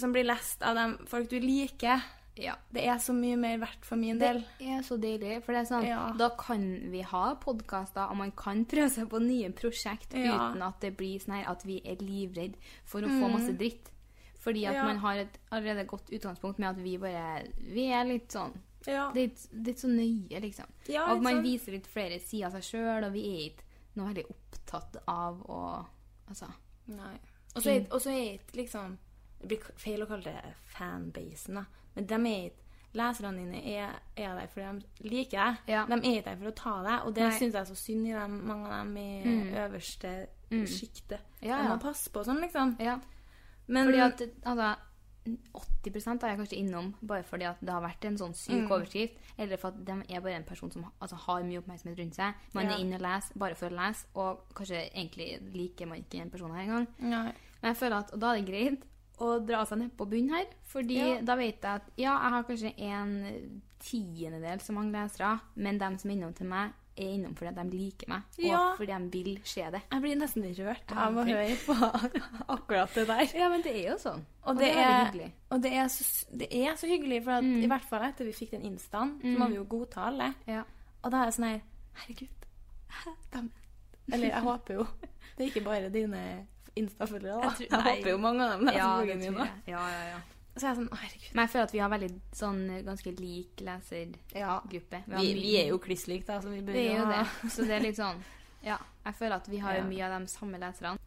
Speaker 2: som blir lest av dem folk du liker,
Speaker 3: Ja.
Speaker 2: det er så mye mer verdt for min
Speaker 3: Det
Speaker 2: del.
Speaker 3: er så deilig. For det er sånn,
Speaker 2: Ja.
Speaker 3: da kan vi ha podkaster, og man kan prøve seg på nye prosjekt
Speaker 2: Ja. Mm.
Speaker 3: uten at det blir sånn her at vi er livredd for å få masse dritt. Fordi at
Speaker 2: Ja.
Speaker 3: man har et allerede godt utgangspunkt med at vi bare Vi er litt sånn
Speaker 2: Ja.
Speaker 3: Det er ikke- det er ikke så nøye, liksom.
Speaker 2: Ja,
Speaker 3: og
Speaker 2: ikke
Speaker 3: man
Speaker 2: sant?
Speaker 3: viser litt flere sider av seg sjøl, og vi er ikke noe veldig opptatt av å Altså.
Speaker 2: Nei. Og så er og så er ikke liksom Det blir feil å kalle det fanbasen, da. Men de er ikke Leserne dine er, er der fordi de liker deg.
Speaker 3: Ja.
Speaker 2: De er ikke der for å ta deg, og det
Speaker 3: Nei.
Speaker 2: syns jeg er så synd i dem, mange av dem i øverste sjiktet.
Speaker 3: Ja,
Speaker 2: De
Speaker 3: ja.
Speaker 2: må passe på og sånn, liksom.
Speaker 3: Ja.
Speaker 2: Men
Speaker 3: Fordi at altså, 80 er jeg kanskje innom bare fordi at det har vært en sånn syk
Speaker 2: Mm.
Speaker 3: overskrift. Eller for at de er bare en person som altså, har mye oppmerksomhet rundt seg. Man
Speaker 2: Ja.
Speaker 3: er inne og leser bare for å lese, og kanskje egentlig liker man ikke den personen her engang.
Speaker 2: Nei.
Speaker 3: Men jeg føler at og da er det greit å dra seg ned på bunnen her, fordi
Speaker 2: Ja.
Speaker 3: da vet jeg at ja, jeg har kanskje en tiendedel så mange lesere, men dem som er innom til meg, er innom fordi at de liker meg, og
Speaker 2: Ja.
Speaker 3: fordi de vil se det.
Speaker 2: Jeg blir nesten rørt
Speaker 3: Ja,
Speaker 2: av å
Speaker 3: ok.
Speaker 2: høre på *laughs* akkurat det der.
Speaker 3: Ja, men det er jo sånn.
Speaker 2: Og det,
Speaker 3: veldig
Speaker 2: er,
Speaker 3: hyggelig.
Speaker 2: og det, er så, det er så hyggelig, for at, i hvert fall etter vi fikk den instaen, så må vi jo godta alle.
Speaker 3: Ja.
Speaker 2: Og da er jeg sånn her Herregud. hæ, dem- Eller jeg håper jo Det er ikke bare dine Insta-følgere, da.
Speaker 3: Jeg tror-
Speaker 2: Jeg,
Speaker 3: nei.
Speaker 2: håper jo mange av dem leser
Speaker 3: Ja, det
Speaker 2: bloggen min.
Speaker 3: tror
Speaker 2: da.
Speaker 3: jeg. Ja, ja, ja.
Speaker 2: Så er jeg sånn Å, herregud.
Speaker 3: Men jeg føler at vi har veldig sånn ganske lik lesergruppe. har
Speaker 2: Vi,
Speaker 3: mye-
Speaker 2: vi er jo kliss like, da, så vi bør
Speaker 3: Vi er jo
Speaker 2: ha-
Speaker 3: det. Så det er litt sånn Ja. Jeg føler at vi har jo
Speaker 2: Ja.
Speaker 3: mye av de samme leserne.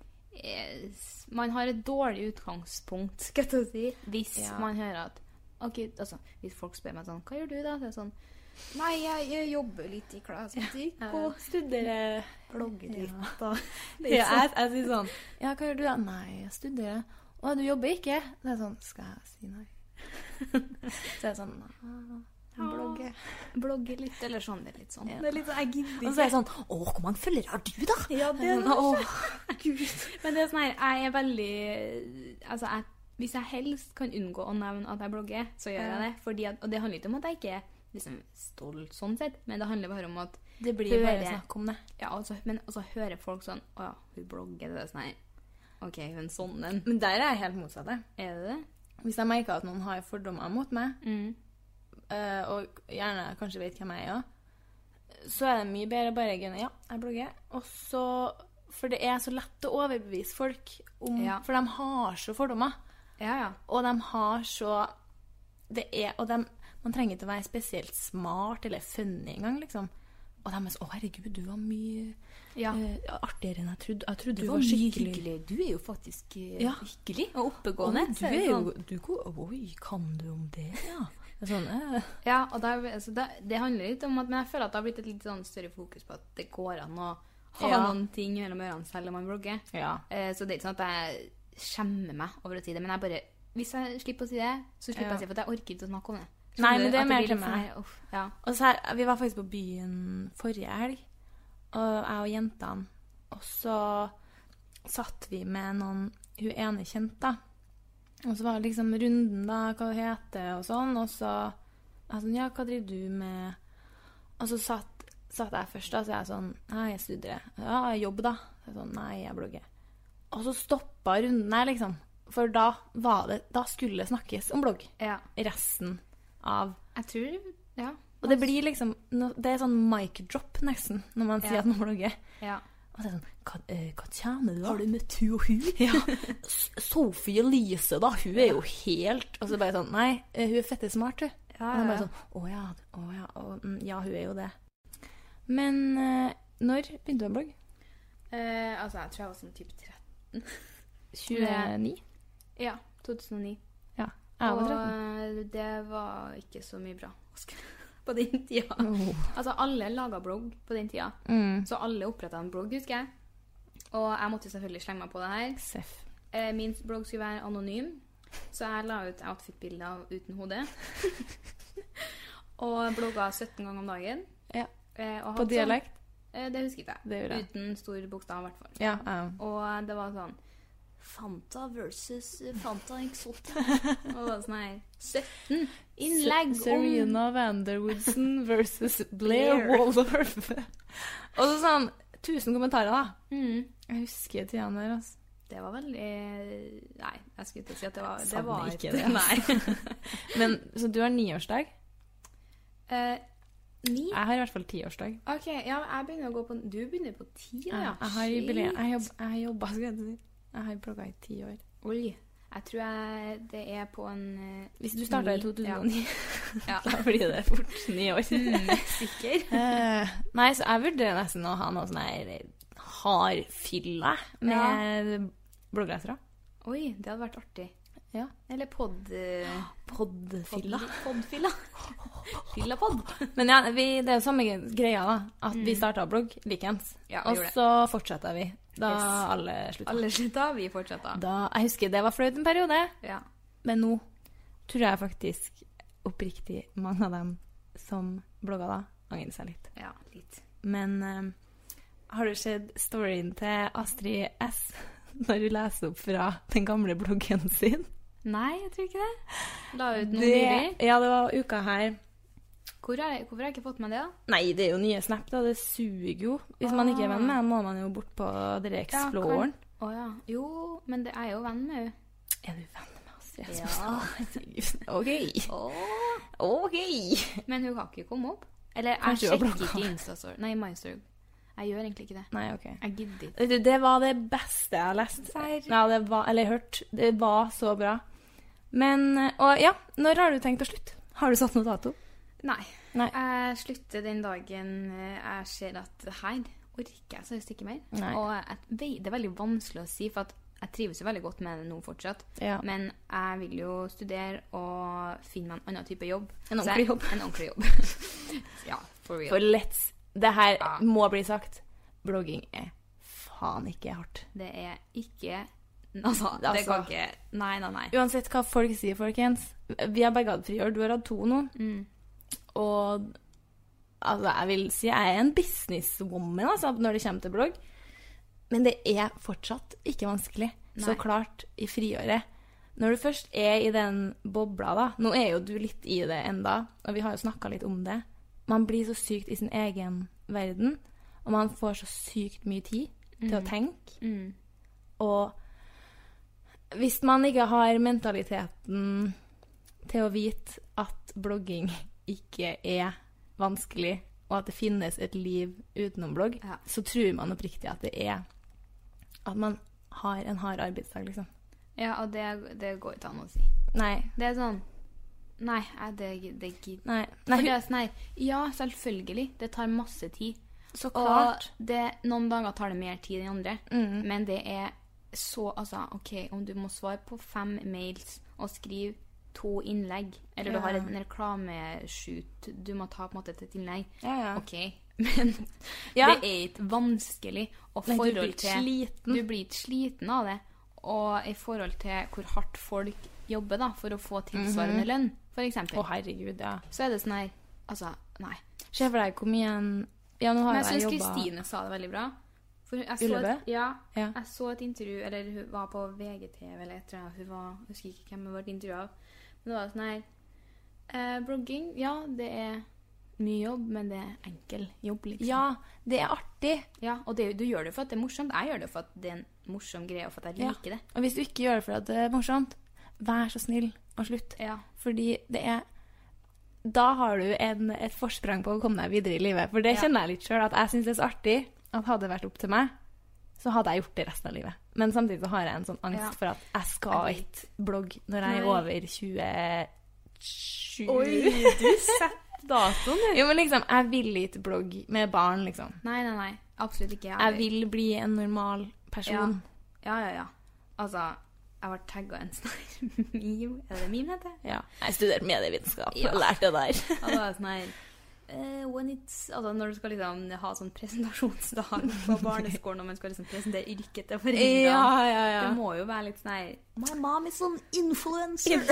Speaker 3: Eh, s- Man har et dårlig utgangspunkt, skal jeg til å si, hvis
Speaker 2: Ja.
Speaker 3: man hører at Ok, altså, Hvis folk spør meg sånn Hva gjør du, da? Så er det sånn Nei, jeg, jeg jobber litt i klassemusikk og
Speaker 2: Og studere
Speaker 3: blogger litt.
Speaker 2: *laughs* Ja, jeg, jeg sier sånn Ja, hva gjør du da? Nei, jeg studerer. Å, du jobber ikke? Det er sånn Skal jeg si *laughs* nei? Så er jeg sånn Blogge.
Speaker 3: Blogger litt, eller sånn. Det er litt sånn.
Speaker 2: Det er litt sånn, jeg gidder ikke. Og så er jeg sånn Å, hvor mange følgere har du, da? Ja, det er sånn, Å, gud.
Speaker 3: Men det er sånn her, jeg er veldig Altså, jeg, hvis jeg helst kan unngå å nevne at jeg blogger, så gjør jeg det. Fordi at, og det handler ikke om at jeg ikke er liksom, stolt sånn sett, men det handler bare om at
Speaker 2: Det blir
Speaker 3: Hører.
Speaker 2: bare snakk om det.
Speaker 3: ja, altså, Men også hører folk sånn Å ja, hun blogger. Det er sånn her OK, hun er sånn en.
Speaker 2: Men der er jeg helt motsatt. jeg.
Speaker 3: Er det det?
Speaker 2: Hvis jeg merker at noen har fordommer mot meg, eh, og gjerne kanskje vet hvem jeg er òg, så er det mye bedre å bare gunne Ja, jeg blogger. Og så For det er så lett å overbevise folk om
Speaker 3: Ja.
Speaker 2: For de har så fordommer.
Speaker 3: Ja, ja.
Speaker 2: Og de har så Det er Og de Man trenger ikke å være spesielt smart eller funny engang, liksom. Og de er sånn Å, herregud, du var mye
Speaker 3: Ja.
Speaker 2: eh, artigere enn jeg trodde. Jeg trodde du,
Speaker 3: Du,
Speaker 2: var,
Speaker 3: var mye
Speaker 2: skikkelig
Speaker 3: hyggelig. Du er jo faktisk eh,
Speaker 2: Ja.
Speaker 3: hyggelig og
Speaker 2: Å,
Speaker 3: oppegående.
Speaker 2: du
Speaker 3: så det
Speaker 2: er
Speaker 3: sånn-
Speaker 2: jo du, ko- Oi, kan du om det, ja? Det er Sånn, eh.
Speaker 3: Ja, og da, altså, det, det handler litt om at Men jeg føler at det har blitt et litt sånn større fokus på at det går an å ha
Speaker 2: Ja.
Speaker 3: noen ting mellom ørene selv om man blogger.
Speaker 2: Ja.
Speaker 3: Eh, så det er ikke sånn at jeg skjemmer meg over å si det. Men jeg bare, hvis jeg slipper å si det, så slipper jeg å si det, for at jeg orker ikke å snakke om det. Skjønner
Speaker 2: Nei, men
Speaker 3: du?
Speaker 2: det er
Speaker 3: At
Speaker 2: mer
Speaker 3: blir
Speaker 2: til
Speaker 3: litt sånn
Speaker 2: meg.
Speaker 3: her, uff, ja.
Speaker 2: Og så her, Vi var faktisk på byen forrige helg, og jeg og jentene. Og så satt vi med noen hun ene kjente. Og så var det liksom runden, da, hva hun heter og sånn. Og så jeg sånn, ja, hva driver du med? Og så satt, satt jeg først, da, så jeg sånn Nei, jeg studerer. Ja, jeg jobber, da. Så jeg sånn, Nei, jeg blogger. Og så stoppa runden her, liksom. For da, var det, da skulle det snakkes om blogg.
Speaker 3: ja.
Speaker 2: Resten av
Speaker 3: Jeg tror Ja.
Speaker 2: Og det blir liksom no, Det er sånn mic drop, nesten, når man sier
Speaker 3: Ja.
Speaker 2: at man blogger.
Speaker 3: Ja.
Speaker 2: Og så er det sånn Hva, eh, hva tjener du, da? Har du møtt hun og hun? *laughs* Ja. S- Sophie Elise, da. Hun er jo helt Og så bare sånn Nei, eh, hun er fette smart, hun.
Speaker 3: Ja,
Speaker 2: Og de
Speaker 3: ja,
Speaker 2: bare
Speaker 3: ja.
Speaker 2: sånn Å ja, å ja. Å, mm, ja, hun er jo det. Men eh, når begynte du å blogge?
Speaker 3: Eh, altså, jeg tror jeg var sånn type 13.
Speaker 2: 29?
Speaker 3: Ja, 2009.
Speaker 2: Ja. Jeg
Speaker 3: og
Speaker 2: var 13.
Speaker 3: eh, det var ikke så mye bra *laughs* på den tida.
Speaker 2: Oh.
Speaker 3: Altså, alle laga blogg på den tida.
Speaker 2: Mm.
Speaker 3: Så alle oppretta en blogg, husker jeg. Og jeg måtte selvfølgelig slenge meg på det her.
Speaker 2: Seff.
Speaker 3: Eh, Min blogg skulle være anonym, så jeg la ut outfit-bilder av uten hode. *laughs* og blogga 17 ganger om dagen.
Speaker 2: Ja.
Speaker 3: Eh, og
Speaker 2: På
Speaker 3: hadde sånn-
Speaker 2: dialekt?
Speaker 3: eh, det husker ikke jeg.
Speaker 2: Det gjorde jeg.
Speaker 3: Uten stor bokstav, i hvert fall.
Speaker 2: Ja. jeg
Speaker 3: Og det var sånn Fanta versus eh, Fanta
Speaker 2: *laughs*
Speaker 3: Exotic. og det var sånn her 17 innlegg
Speaker 2: Se-
Speaker 3: om
Speaker 2: Serena *laughs* Vanderwoodson versus Blair *laughs*
Speaker 3: Blair.
Speaker 2: Waldorf. Og så sånn 1000 kommentarer, da.
Speaker 3: mm.
Speaker 2: Jeg husker tidene der, altså.
Speaker 3: Det var veldig Nei, jeg skulle ikke si at det var Det
Speaker 2: Savner
Speaker 3: var
Speaker 2: ikke
Speaker 3: ikke
Speaker 2: det,
Speaker 3: det. Nei. *laughs*
Speaker 2: Men, så du har niårsdag.
Speaker 3: Eh, ni?
Speaker 2: Jeg har i hvert fall tiårsdag.
Speaker 3: OK, ja, jeg begynner å gå på Du begynner på ti, da, ja.
Speaker 2: Jeg, jeg har jubileum. Jeg har jobb- jeg har jobba, skal jeg si. Jeg har blogga i ti år.
Speaker 3: Shit. Oi. Jeg tror jeg det er på en eh,
Speaker 2: Hvis du starta i 2009,
Speaker 3: ni. Ja.
Speaker 2: *laughs* da blir det fort *laughs* ni år.
Speaker 3: Ja.
Speaker 2: *laughs*
Speaker 3: Mm, sikker?
Speaker 2: Eh, nei, så jeg vurderer nesten å ha noe sånn her hardfylla med bloggresere.
Speaker 3: Oi, det hadde vært artig.
Speaker 2: Ja.
Speaker 3: Eller pod... eh,
Speaker 2: Podfylla.
Speaker 3: Podfylla.
Speaker 2: *laughs*
Speaker 3: Fyllapod.
Speaker 2: Men ja, vi, det er jo samme greia, da. At vi starta blogg likeens.
Speaker 3: Ja, vi
Speaker 2: og
Speaker 3: gjorde det.
Speaker 2: så fortsetta vi da
Speaker 3: Yes.
Speaker 2: alle slutta.
Speaker 3: Alle slutta, vi fortsetta.
Speaker 2: Da, jeg husker det var flaut en periode,
Speaker 3: Ja.
Speaker 2: men nå tror jeg faktisk oppriktig mange av dem som blogga da, angrer seg litt.
Speaker 3: ja, litt.
Speaker 2: Men eh, har du sett storyen til Astrid S *laughs* når hun leser opp fra den gamle bloggen sin?
Speaker 3: Nei, jeg tror ikke det. La ut noe nylig.
Speaker 2: det, ja, det var uka her.
Speaker 3: Hvor er jeg- Hvorfor har jeg ikke fått med det, da?
Speaker 2: Nei, det er jo nye Snap, da. Det suger jo. Hvis man ikke er venn med dem, må man jo bort på dere Exploren.
Speaker 3: Å ja. Jo, men det er jo venn med henne.
Speaker 2: Er du venn med Astrid?
Speaker 3: Ja.
Speaker 2: *laughs* Herregud. OK.
Speaker 3: Åh.
Speaker 2: OK.
Speaker 3: Men hun har ikke kommet opp. Eller jeg
Speaker 2: Kanskje hun har
Speaker 3: sjekker
Speaker 2: blokka.
Speaker 3: ikke Instastory. Nei, MyStory. Jeg gjør egentlig ikke det.
Speaker 2: Nei, OK.
Speaker 3: Jeg gidder ikke.
Speaker 2: Vet du, det var det beste jeg har lest.
Speaker 3: Serr?
Speaker 2: Ja, det var, eller hørt. Det var så bra. Men Og ja, når har du tenkt å slutte? Har du satt noe dato?
Speaker 3: Nei.
Speaker 2: Nei.
Speaker 3: Jeg slutter den dagen eh, jeg ser at her orker jeg seriøst ikke mer.
Speaker 2: Nei.
Speaker 3: Og jeg vet, det er veldig vanskelig å si, for at jeg trives jo veldig godt med det nå fortsatt.
Speaker 2: Ja.
Speaker 3: Men jeg vil jo studere og finne meg en annen type jobb.
Speaker 2: En
Speaker 3: Så jeg-
Speaker 2: ordentlig jobb.
Speaker 3: En ordentlig jobb. *laughs* ja, for real.
Speaker 2: For let's Det her
Speaker 3: Ja.
Speaker 2: må bli sagt. Blogging er faen ikke hardt.
Speaker 3: Det er ikke Altså, det
Speaker 2: Altså.
Speaker 3: kan ikke Nei, nei, nei.
Speaker 2: Uansett hva folk sier, folkens. Vi har begge hatt friår. Du har hatt to nå. Og altså, jeg vil si jeg er en businesswoman altså, når det kommer til blogg. Men det er fortsatt ikke vanskelig. Så
Speaker 3: Nei.
Speaker 2: klart, i friåret. Når du først er i den bobla, da Nå er jo du litt i det enda, og vi har jo snakka litt om det. Man blir så sykt i sin egen verden, og man får så sykt mye tid til å tenke.
Speaker 3: Mm.
Speaker 2: Og hvis man ikke har mentaliteten til å vite at blogging ikke er vanskelig, og at det finnes et liv utenom blogg,
Speaker 3: Ja.
Speaker 2: så tror man oppriktig at det er at man har en hard arbeidsdag, liksom.
Speaker 3: Ja, og det, det går ikke an å si.
Speaker 2: Nei.
Speaker 3: Det er sånn Nei, jeg- det, det gidder
Speaker 2: Nei.
Speaker 3: For
Speaker 2: Nei
Speaker 3: det er sånn her Ja, selvfølgelig. Det tar masse tid.
Speaker 2: så
Speaker 3: Og
Speaker 2: klart. Mm.
Speaker 3: det, noen dager tar det mer tid enn andre. Men det er så Altså, OK, om du må svare på fem mails og skrive to innlegg, eller du
Speaker 2: Ja.
Speaker 3: har en reklameshoot du må ta på en måte til et innlegg
Speaker 2: Ja, ja.
Speaker 3: OK, *laughs* men
Speaker 2: Ja.
Speaker 3: det er ikke vanskelig.
Speaker 2: Nei,
Speaker 3: Og
Speaker 2: du
Speaker 3: forhold
Speaker 2: blir ikke
Speaker 3: til
Speaker 2: sliten.
Speaker 3: Du blir ikke sliten av det. Og i forhold til hvor hardt folk jobber da, for å få tilsvarende lønn, f.eks.,
Speaker 2: Mhm. Å, herregud, ja.
Speaker 3: så er det sånn her Altså, nei.
Speaker 2: Se for deg hvor mye en Ja, nå har
Speaker 3: Men jeg syns
Speaker 2: jeg jobba
Speaker 3: Kristine sa det veldig bra. For jeg så
Speaker 2: Ullevø?
Speaker 3: et, ja,
Speaker 2: Ja.
Speaker 3: jeg så et intervju Eller hun var på VGTV, eller jeg tror hun var Jeg husker ikke hvem hun ble intervjua av. Men det var sånn her eh, Blogging, ja, det er mye jobb, men det er enkel jobb, liksom.
Speaker 2: Ja, det er artig.
Speaker 3: Ja, og det, du gjør det for at det er morsomt. Jeg gjør det for at det er en morsom greie, og for at jeg
Speaker 2: Ja.
Speaker 3: liker det.
Speaker 2: Og hvis du ikke gjør det for at det er morsomt, vær så snill og slutt.
Speaker 3: Ja.
Speaker 2: Fordi det er da har du en, et forsprang på å komme deg videre i livet. For det
Speaker 3: Ja.
Speaker 2: kjenner jeg litt sjøl, at jeg syns det er så artig at hadde det vært opp til meg, så hadde jeg gjort det resten av livet. Men samtidig så har jeg en sånn angst
Speaker 3: Ja.
Speaker 2: for at jeg skal
Speaker 3: Jeg
Speaker 2: ikke blogge når jeg er
Speaker 3: Nei.
Speaker 2: over 27.
Speaker 3: du setter datoen,
Speaker 2: Jo, men liksom, jeg vil ikke blogge med barn, liksom.
Speaker 3: Nei, nei, nei. Absolutt ikke.
Speaker 2: Jeg vil bli en normal person.
Speaker 3: Ja, ja, ja. Altså, jeg ble tagga en sånn her *laughs* meme. Er det meme heter?
Speaker 2: Ja. Jeg studerte medievitenskap
Speaker 3: Ja.
Speaker 2: og lærte det der.
Speaker 3: Og da var jeg sånn her eh, when it's, altså Når du skal liksom ha sånn presentasjonsdag
Speaker 2: *laughs*
Speaker 3: på barneskolen, og man skal liksom presentere yrket til foreldrene
Speaker 2: *laughs* ja,
Speaker 3: Det må jo være litt sånn her
Speaker 4: My mom is an influencer.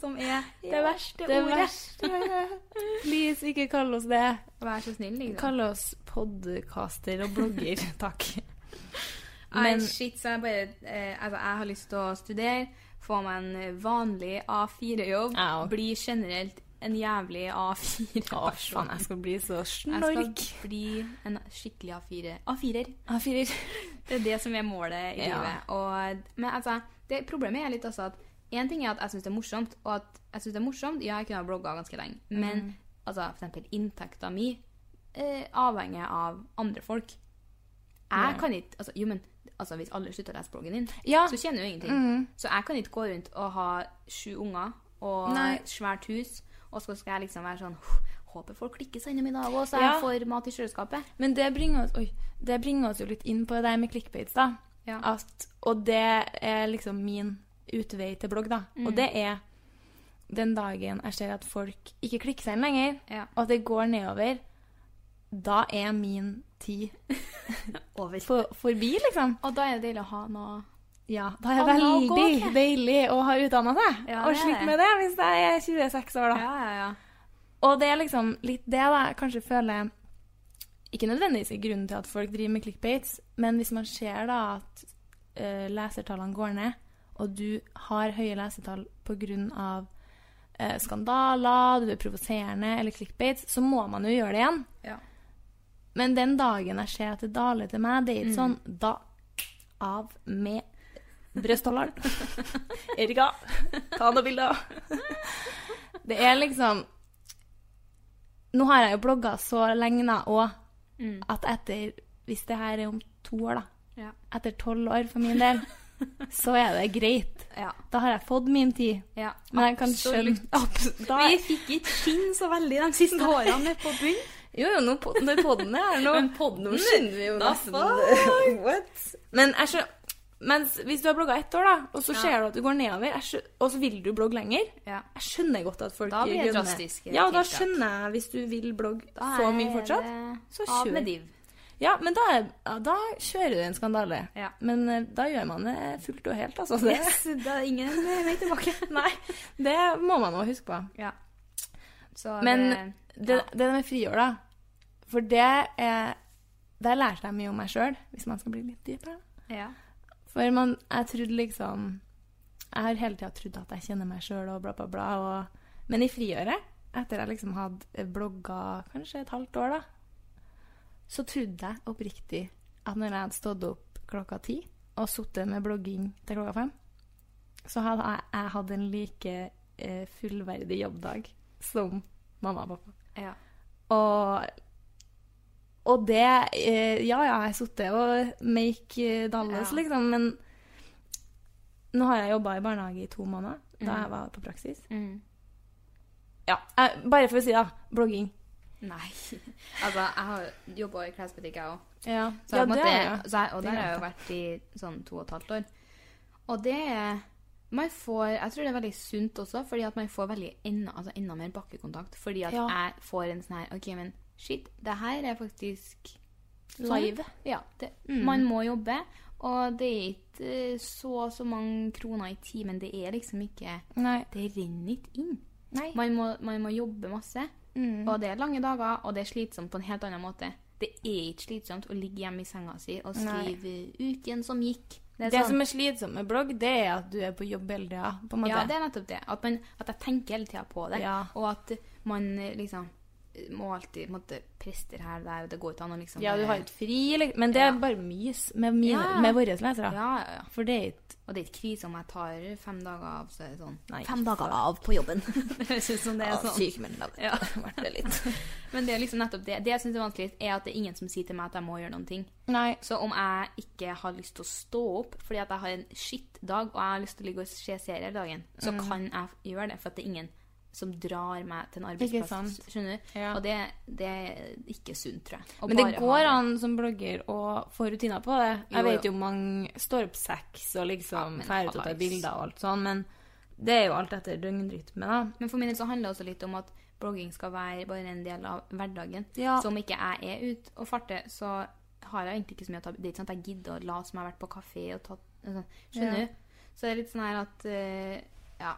Speaker 3: Som er det
Speaker 2: Ja,
Speaker 3: verste
Speaker 2: det
Speaker 3: ordet.
Speaker 2: verste, *laughs* Please, ikke kall oss det.
Speaker 3: Vær så snill, liksom.
Speaker 2: Kall oss podcaster og *laughs* blogger, takk.
Speaker 3: Men
Speaker 2: Men-
Speaker 3: shit, så jeg bare eh, Altså, jeg har lyst til å studere, få meg en vanlig A4-jobb,
Speaker 2: Jeg òg.
Speaker 3: bli generelt en jævlig
Speaker 2: Å, faen,
Speaker 3: A4-person.
Speaker 2: jeg skal bli så
Speaker 3: Jeg skal
Speaker 2: snork.
Speaker 3: bli en skikkelig A4. A4-er.
Speaker 2: A4.
Speaker 3: *laughs* Det er det som er målet i
Speaker 2: Ja.
Speaker 3: livet. Og, men altså, det, problemet er litt også at en ting er at jeg syns det er morsomt, og at jeg synes det er morsomt, ja, jeg kunne ha blogga ganske lenge, men
Speaker 2: Mm.
Speaker 3: altså, for eksempel inntekta mi eh, avhenger av andre folk. Jeg kan ikke altså, Jo, men altså, hvis alle slutter å lese bloggen din,
Speaker 2: Ja. Mm.
Speaker 3: så tjener du ingenting. Så jeg kan ikke gå rundt og ha sju unger og
Speaker 2: Nei.
Speaker 3: svært hus, og så skal jeg liksom være sånn «Hå, Håper folk klikker seg innom i dag òg, så jeg
Speaker 2: Ja.
Speaker 3: får mat i kjøleskapet.
Speaker 2: Men det bringer, oss, oi, det bringer oss jo litt inn på det der med clickbaits, da.
Speaker 3: Ja.
Speaker 2: At, og det er liksom min utvei til blogg, da. Og det er den dagen jeg ser at folk ikke klikker seg inn lenger,
Speaker 3: Ja.
Speaker 2: og at det går nedover, da er min *laughs* tid
Speaker 3: Over.
Speaker 2: for, forbi, liksom.
Speaker 3: Og da er det deilig å ha noe
Speaker 2: Ja, da er det
Speaker 3: Han har å gå
Speaker 2: veldig
Speaker 3: til.
Speaker 2: deilig å ha utdanna seg.
Speaker 3: Ja,
Speaker 2: og
Speaker 3: det er
Speaker 2: slutt
Speaker 3: det.
Speaker 2: med det hvis jeg er 26 år, da.
Speaker 3: Ja, ja, ja.
Speaker 2: Og det er liksom litt det da, jeg kanskje føler Ikke nødvendigvis i grunnen til at folk driver med clickbaits, men hvis man ser da at eh, lesertallene går ned, og du har høye lesertall pga. Uh, skandaler, du er provoserende eller clickbaits, så må man jo gjøre det igjen.
Speaker 3: Ja.
Speaker 2: Men den dagen jeg ser at det daler til meg, det er
Speaker 3: Mm.
Speaker 2: ikke sånn Da av med
Speaker 3: *laughs*
Speaker 2: brystholderen. Erika, ta noen bilder. *laughs* Det er liksom Nå har jeg jo blogga så lenge da, og at etter Hvis det her er om to år, da.
Speaker 3: Mm. Ja.
Speaker 2: Etter tolv år for min del, så er det greit.
Speaker 3: Ja.
Speaker 2: Da har jeg fått min tid.
Speaker 3: ja.
Speaker 2: Men jeg kan skjønne
Speaker 3: Absolutt.
Speaker 2: Abs- da,
Speaker 3: Vi fikk ikke skinne så veldig de siste årene med på bunn.
Speaker 2: Jo, jo, nå pod- når podden er her nå
Speaker 3: Men podden,
Speaker 2: Nå skjønner vi jo
Speaker 3: da
Speaker 2: nesten *laughs* Men jeg skjø- mens hvis du har blogga ett år, da, og så ser du at du går nedover, jeg skjø- og så vil du blogge lenger
Speaker 3: Ja.
Speaker 2: Jeg skjønner godt at folk
Speaker 3: Da blir det
Speaker 2: grønner.
Speaker 3: drastiske
Speaker 2: Ja, og da
Speaker 3: tiltak.
Speaker 2: skjønner jeg hvis du vil blogge
Speaker 3: Da
Speaker 2: så
Speaker 3: er
Speaker 2: mye fortsatt.
Speaker 3: det
Speaker 2: så
Speaker 3: Av
Speaker 2: kjør.
Speaker 3: *laughs* med div.
Speaker 2: Ja, men da, er- ja, da kjører du en skandale.
Speaker 3: Ja.
Speaker 2: Men eh, da gjør man det fullt og helt, altså. *laughs* Det,
Speaker 3: Da er ingen vei *laughs* tilbake.
Speaker 2: Nei, det må man òg huske på.
Speaker 3: Ja. Så
Speaker 2: Men
Speaker 3: det,
Speaker 2: det, det med friår, da. For det er Der lærte jeg mye om meg sjøl, hvis man skal bli litt dypere.
Speaker 3: ja.
Speaker 2: For man, jeg trodde liksom Jeg har hele tida trodd at jeg kjenner meg sjøl og bla, bla, bla. Og, men i friåret, etter jeg liksom hadde blogga kanskje et halvt år, da, så trodde jeg oppriktig at når jeg hadde stått opp klokka ti og sittet med blogging til klokka fem, så hadde jeg, jeg hatt en like eh, fullverdig jobbdag som mamma og pappa.
Speaker 3: ja.
Speaker 2: Og, og det eh, Ja, ja, jeg har sittet og make eh, Dallas,
Speaker 3: Ja.
Speaker 2: liksom, men nå har jeg jobba i barnehage i to måneder,
Speaker 3: Mhm.
Speaker 2: da jeg var på praksis.
Speaker 3: Mm.
Speaker 2: Ja, eh, Bare for å si det, blogging.
Speaker 3: Nei. *laughs* Altså, jeg har jobba i klesbutikk, jeg òg.
Speaker 2: Ja,
Speaker 3: Så jeg
Speaker 2: det
Speaker 3: måtte,
Speaker 2: har jeg.
Speaker 3: så jeg, og
Speaker 2: Det
Speaker 3: der har jeg jo
Speaker 2: glemte
Speaker 3: vært i sånn to og et halvt år. Og det er- man får, Jeg tror det er veldig sunt også, fordi at man får veldig enda, altså enda mer bakkekontakt. Fordi at
Speaker 2: Ja.
Speaker 3: jeg får en sånn her OK, men shit, det her er faktisk sånn.
Speaker 2: Live. Mm.
Speaker 3: Ja. Det, Man må jobbe. Og det er ikke eh, så så mange kroner i timen. Det er liksom ikke
Speaker 2: Nei.
Speaker 3: Det renner ikke inn.
Speaker 2: Nei. Mm.
Speaker 3: Man må, man må jobbe masse. Og det er lange dager, og det er slitsomt på en helt annen måte. Det er ikke slitsomt å ligge hjemme i senga si og skrive uken som gikk. Det
Speaker 2: Det,
Speaker 3: er sånn,
Speaker 2: som er slitsomt med blogg, det er at du er på jobb hele tida, på en måte.
Speaker 3: ja, det er nettopp det. At, man, at jeg tenker hele tida på det.
Speaker 2: Ja.
Speaker 3: Og at man eh, liksom må alltid på en måte, prester her og der, og det går ikke an å liksom
Speaker 2: Ja, du har
Speaker 3: bare-
Speaker 2: ikke fri, eller- men det er
Speaker 3: Ja.
Speaker 2: bare mys med, mine,
Speaker 3: Ja.
Speaker 2: med våre lesere.
Speaker 3: Ja, ja, ja.
Speaker 2: For det er ikke
Speaker 3: Og det er ikke krise om jeg tar fem dager av, så er det sånn
Speaker 2: Nei.
Speaker 3: Fem dager av på jobben! det høres ut som det
Speaker 2: Ah,
Speaker 3: er
Speaker 2: *laughs*
Speaker 3: sånn. Ja. *laughs* Men det er liksom nettopp det. Det jeg syns er vanskelig, er at det er ingen som sier til meg at jeg må gjøre noen ting.
Speaker 2: Nei.
Speaker 3: Så om jeg ikke har lyst til å stå opp fordi at jeg har en skittdag og jeg har lyst til å ligge og se serier hele dagen, så
Speaker 2: Mm.
Speaker 3: kan jeg gjøre det. For at det er ingen som drar meg til en
Speaker 2: Ikke
Speaker 3: arbeidsplass.
Speaker 2: sant.
Speaker 3: Skjønner du?
Speaker 2: Ja.
Speaker 3: Og det, det er ikke sunt, tror jeg. Å
Speaker 2: Men det
Speaker 3: bare ha
Speaker 2: går an som blogger å få rutiner på det.
Speaker 3: Jo,
Speaker 2: Jeg vet
Speaker 3: jo.
Speaker 2: jo mange står opp seks og liksom
Speaker 3: Ja, men
Speaker 2: drar ut og tar
Speaker 3: hallais.
Speaker 2: bilder og alt sånn, men det er jo alt etter døgnrytme, da.
Speaker 3: Men for min del så handler det også litt om at blogging skal være bare en del av hverdagen.
Speaker 2: Ja.
Speaker 3: Så om ikke jeg er ute og farter, så har jeg egentlig ikke så mye å ta Det er ikke sånn at jeg gidder å late som jeg har vært på kafé og tatt altså, Skjønner
Speaker 2: Ja.
Speaker 3: du? Så det er litt sånn her at eh, Ja.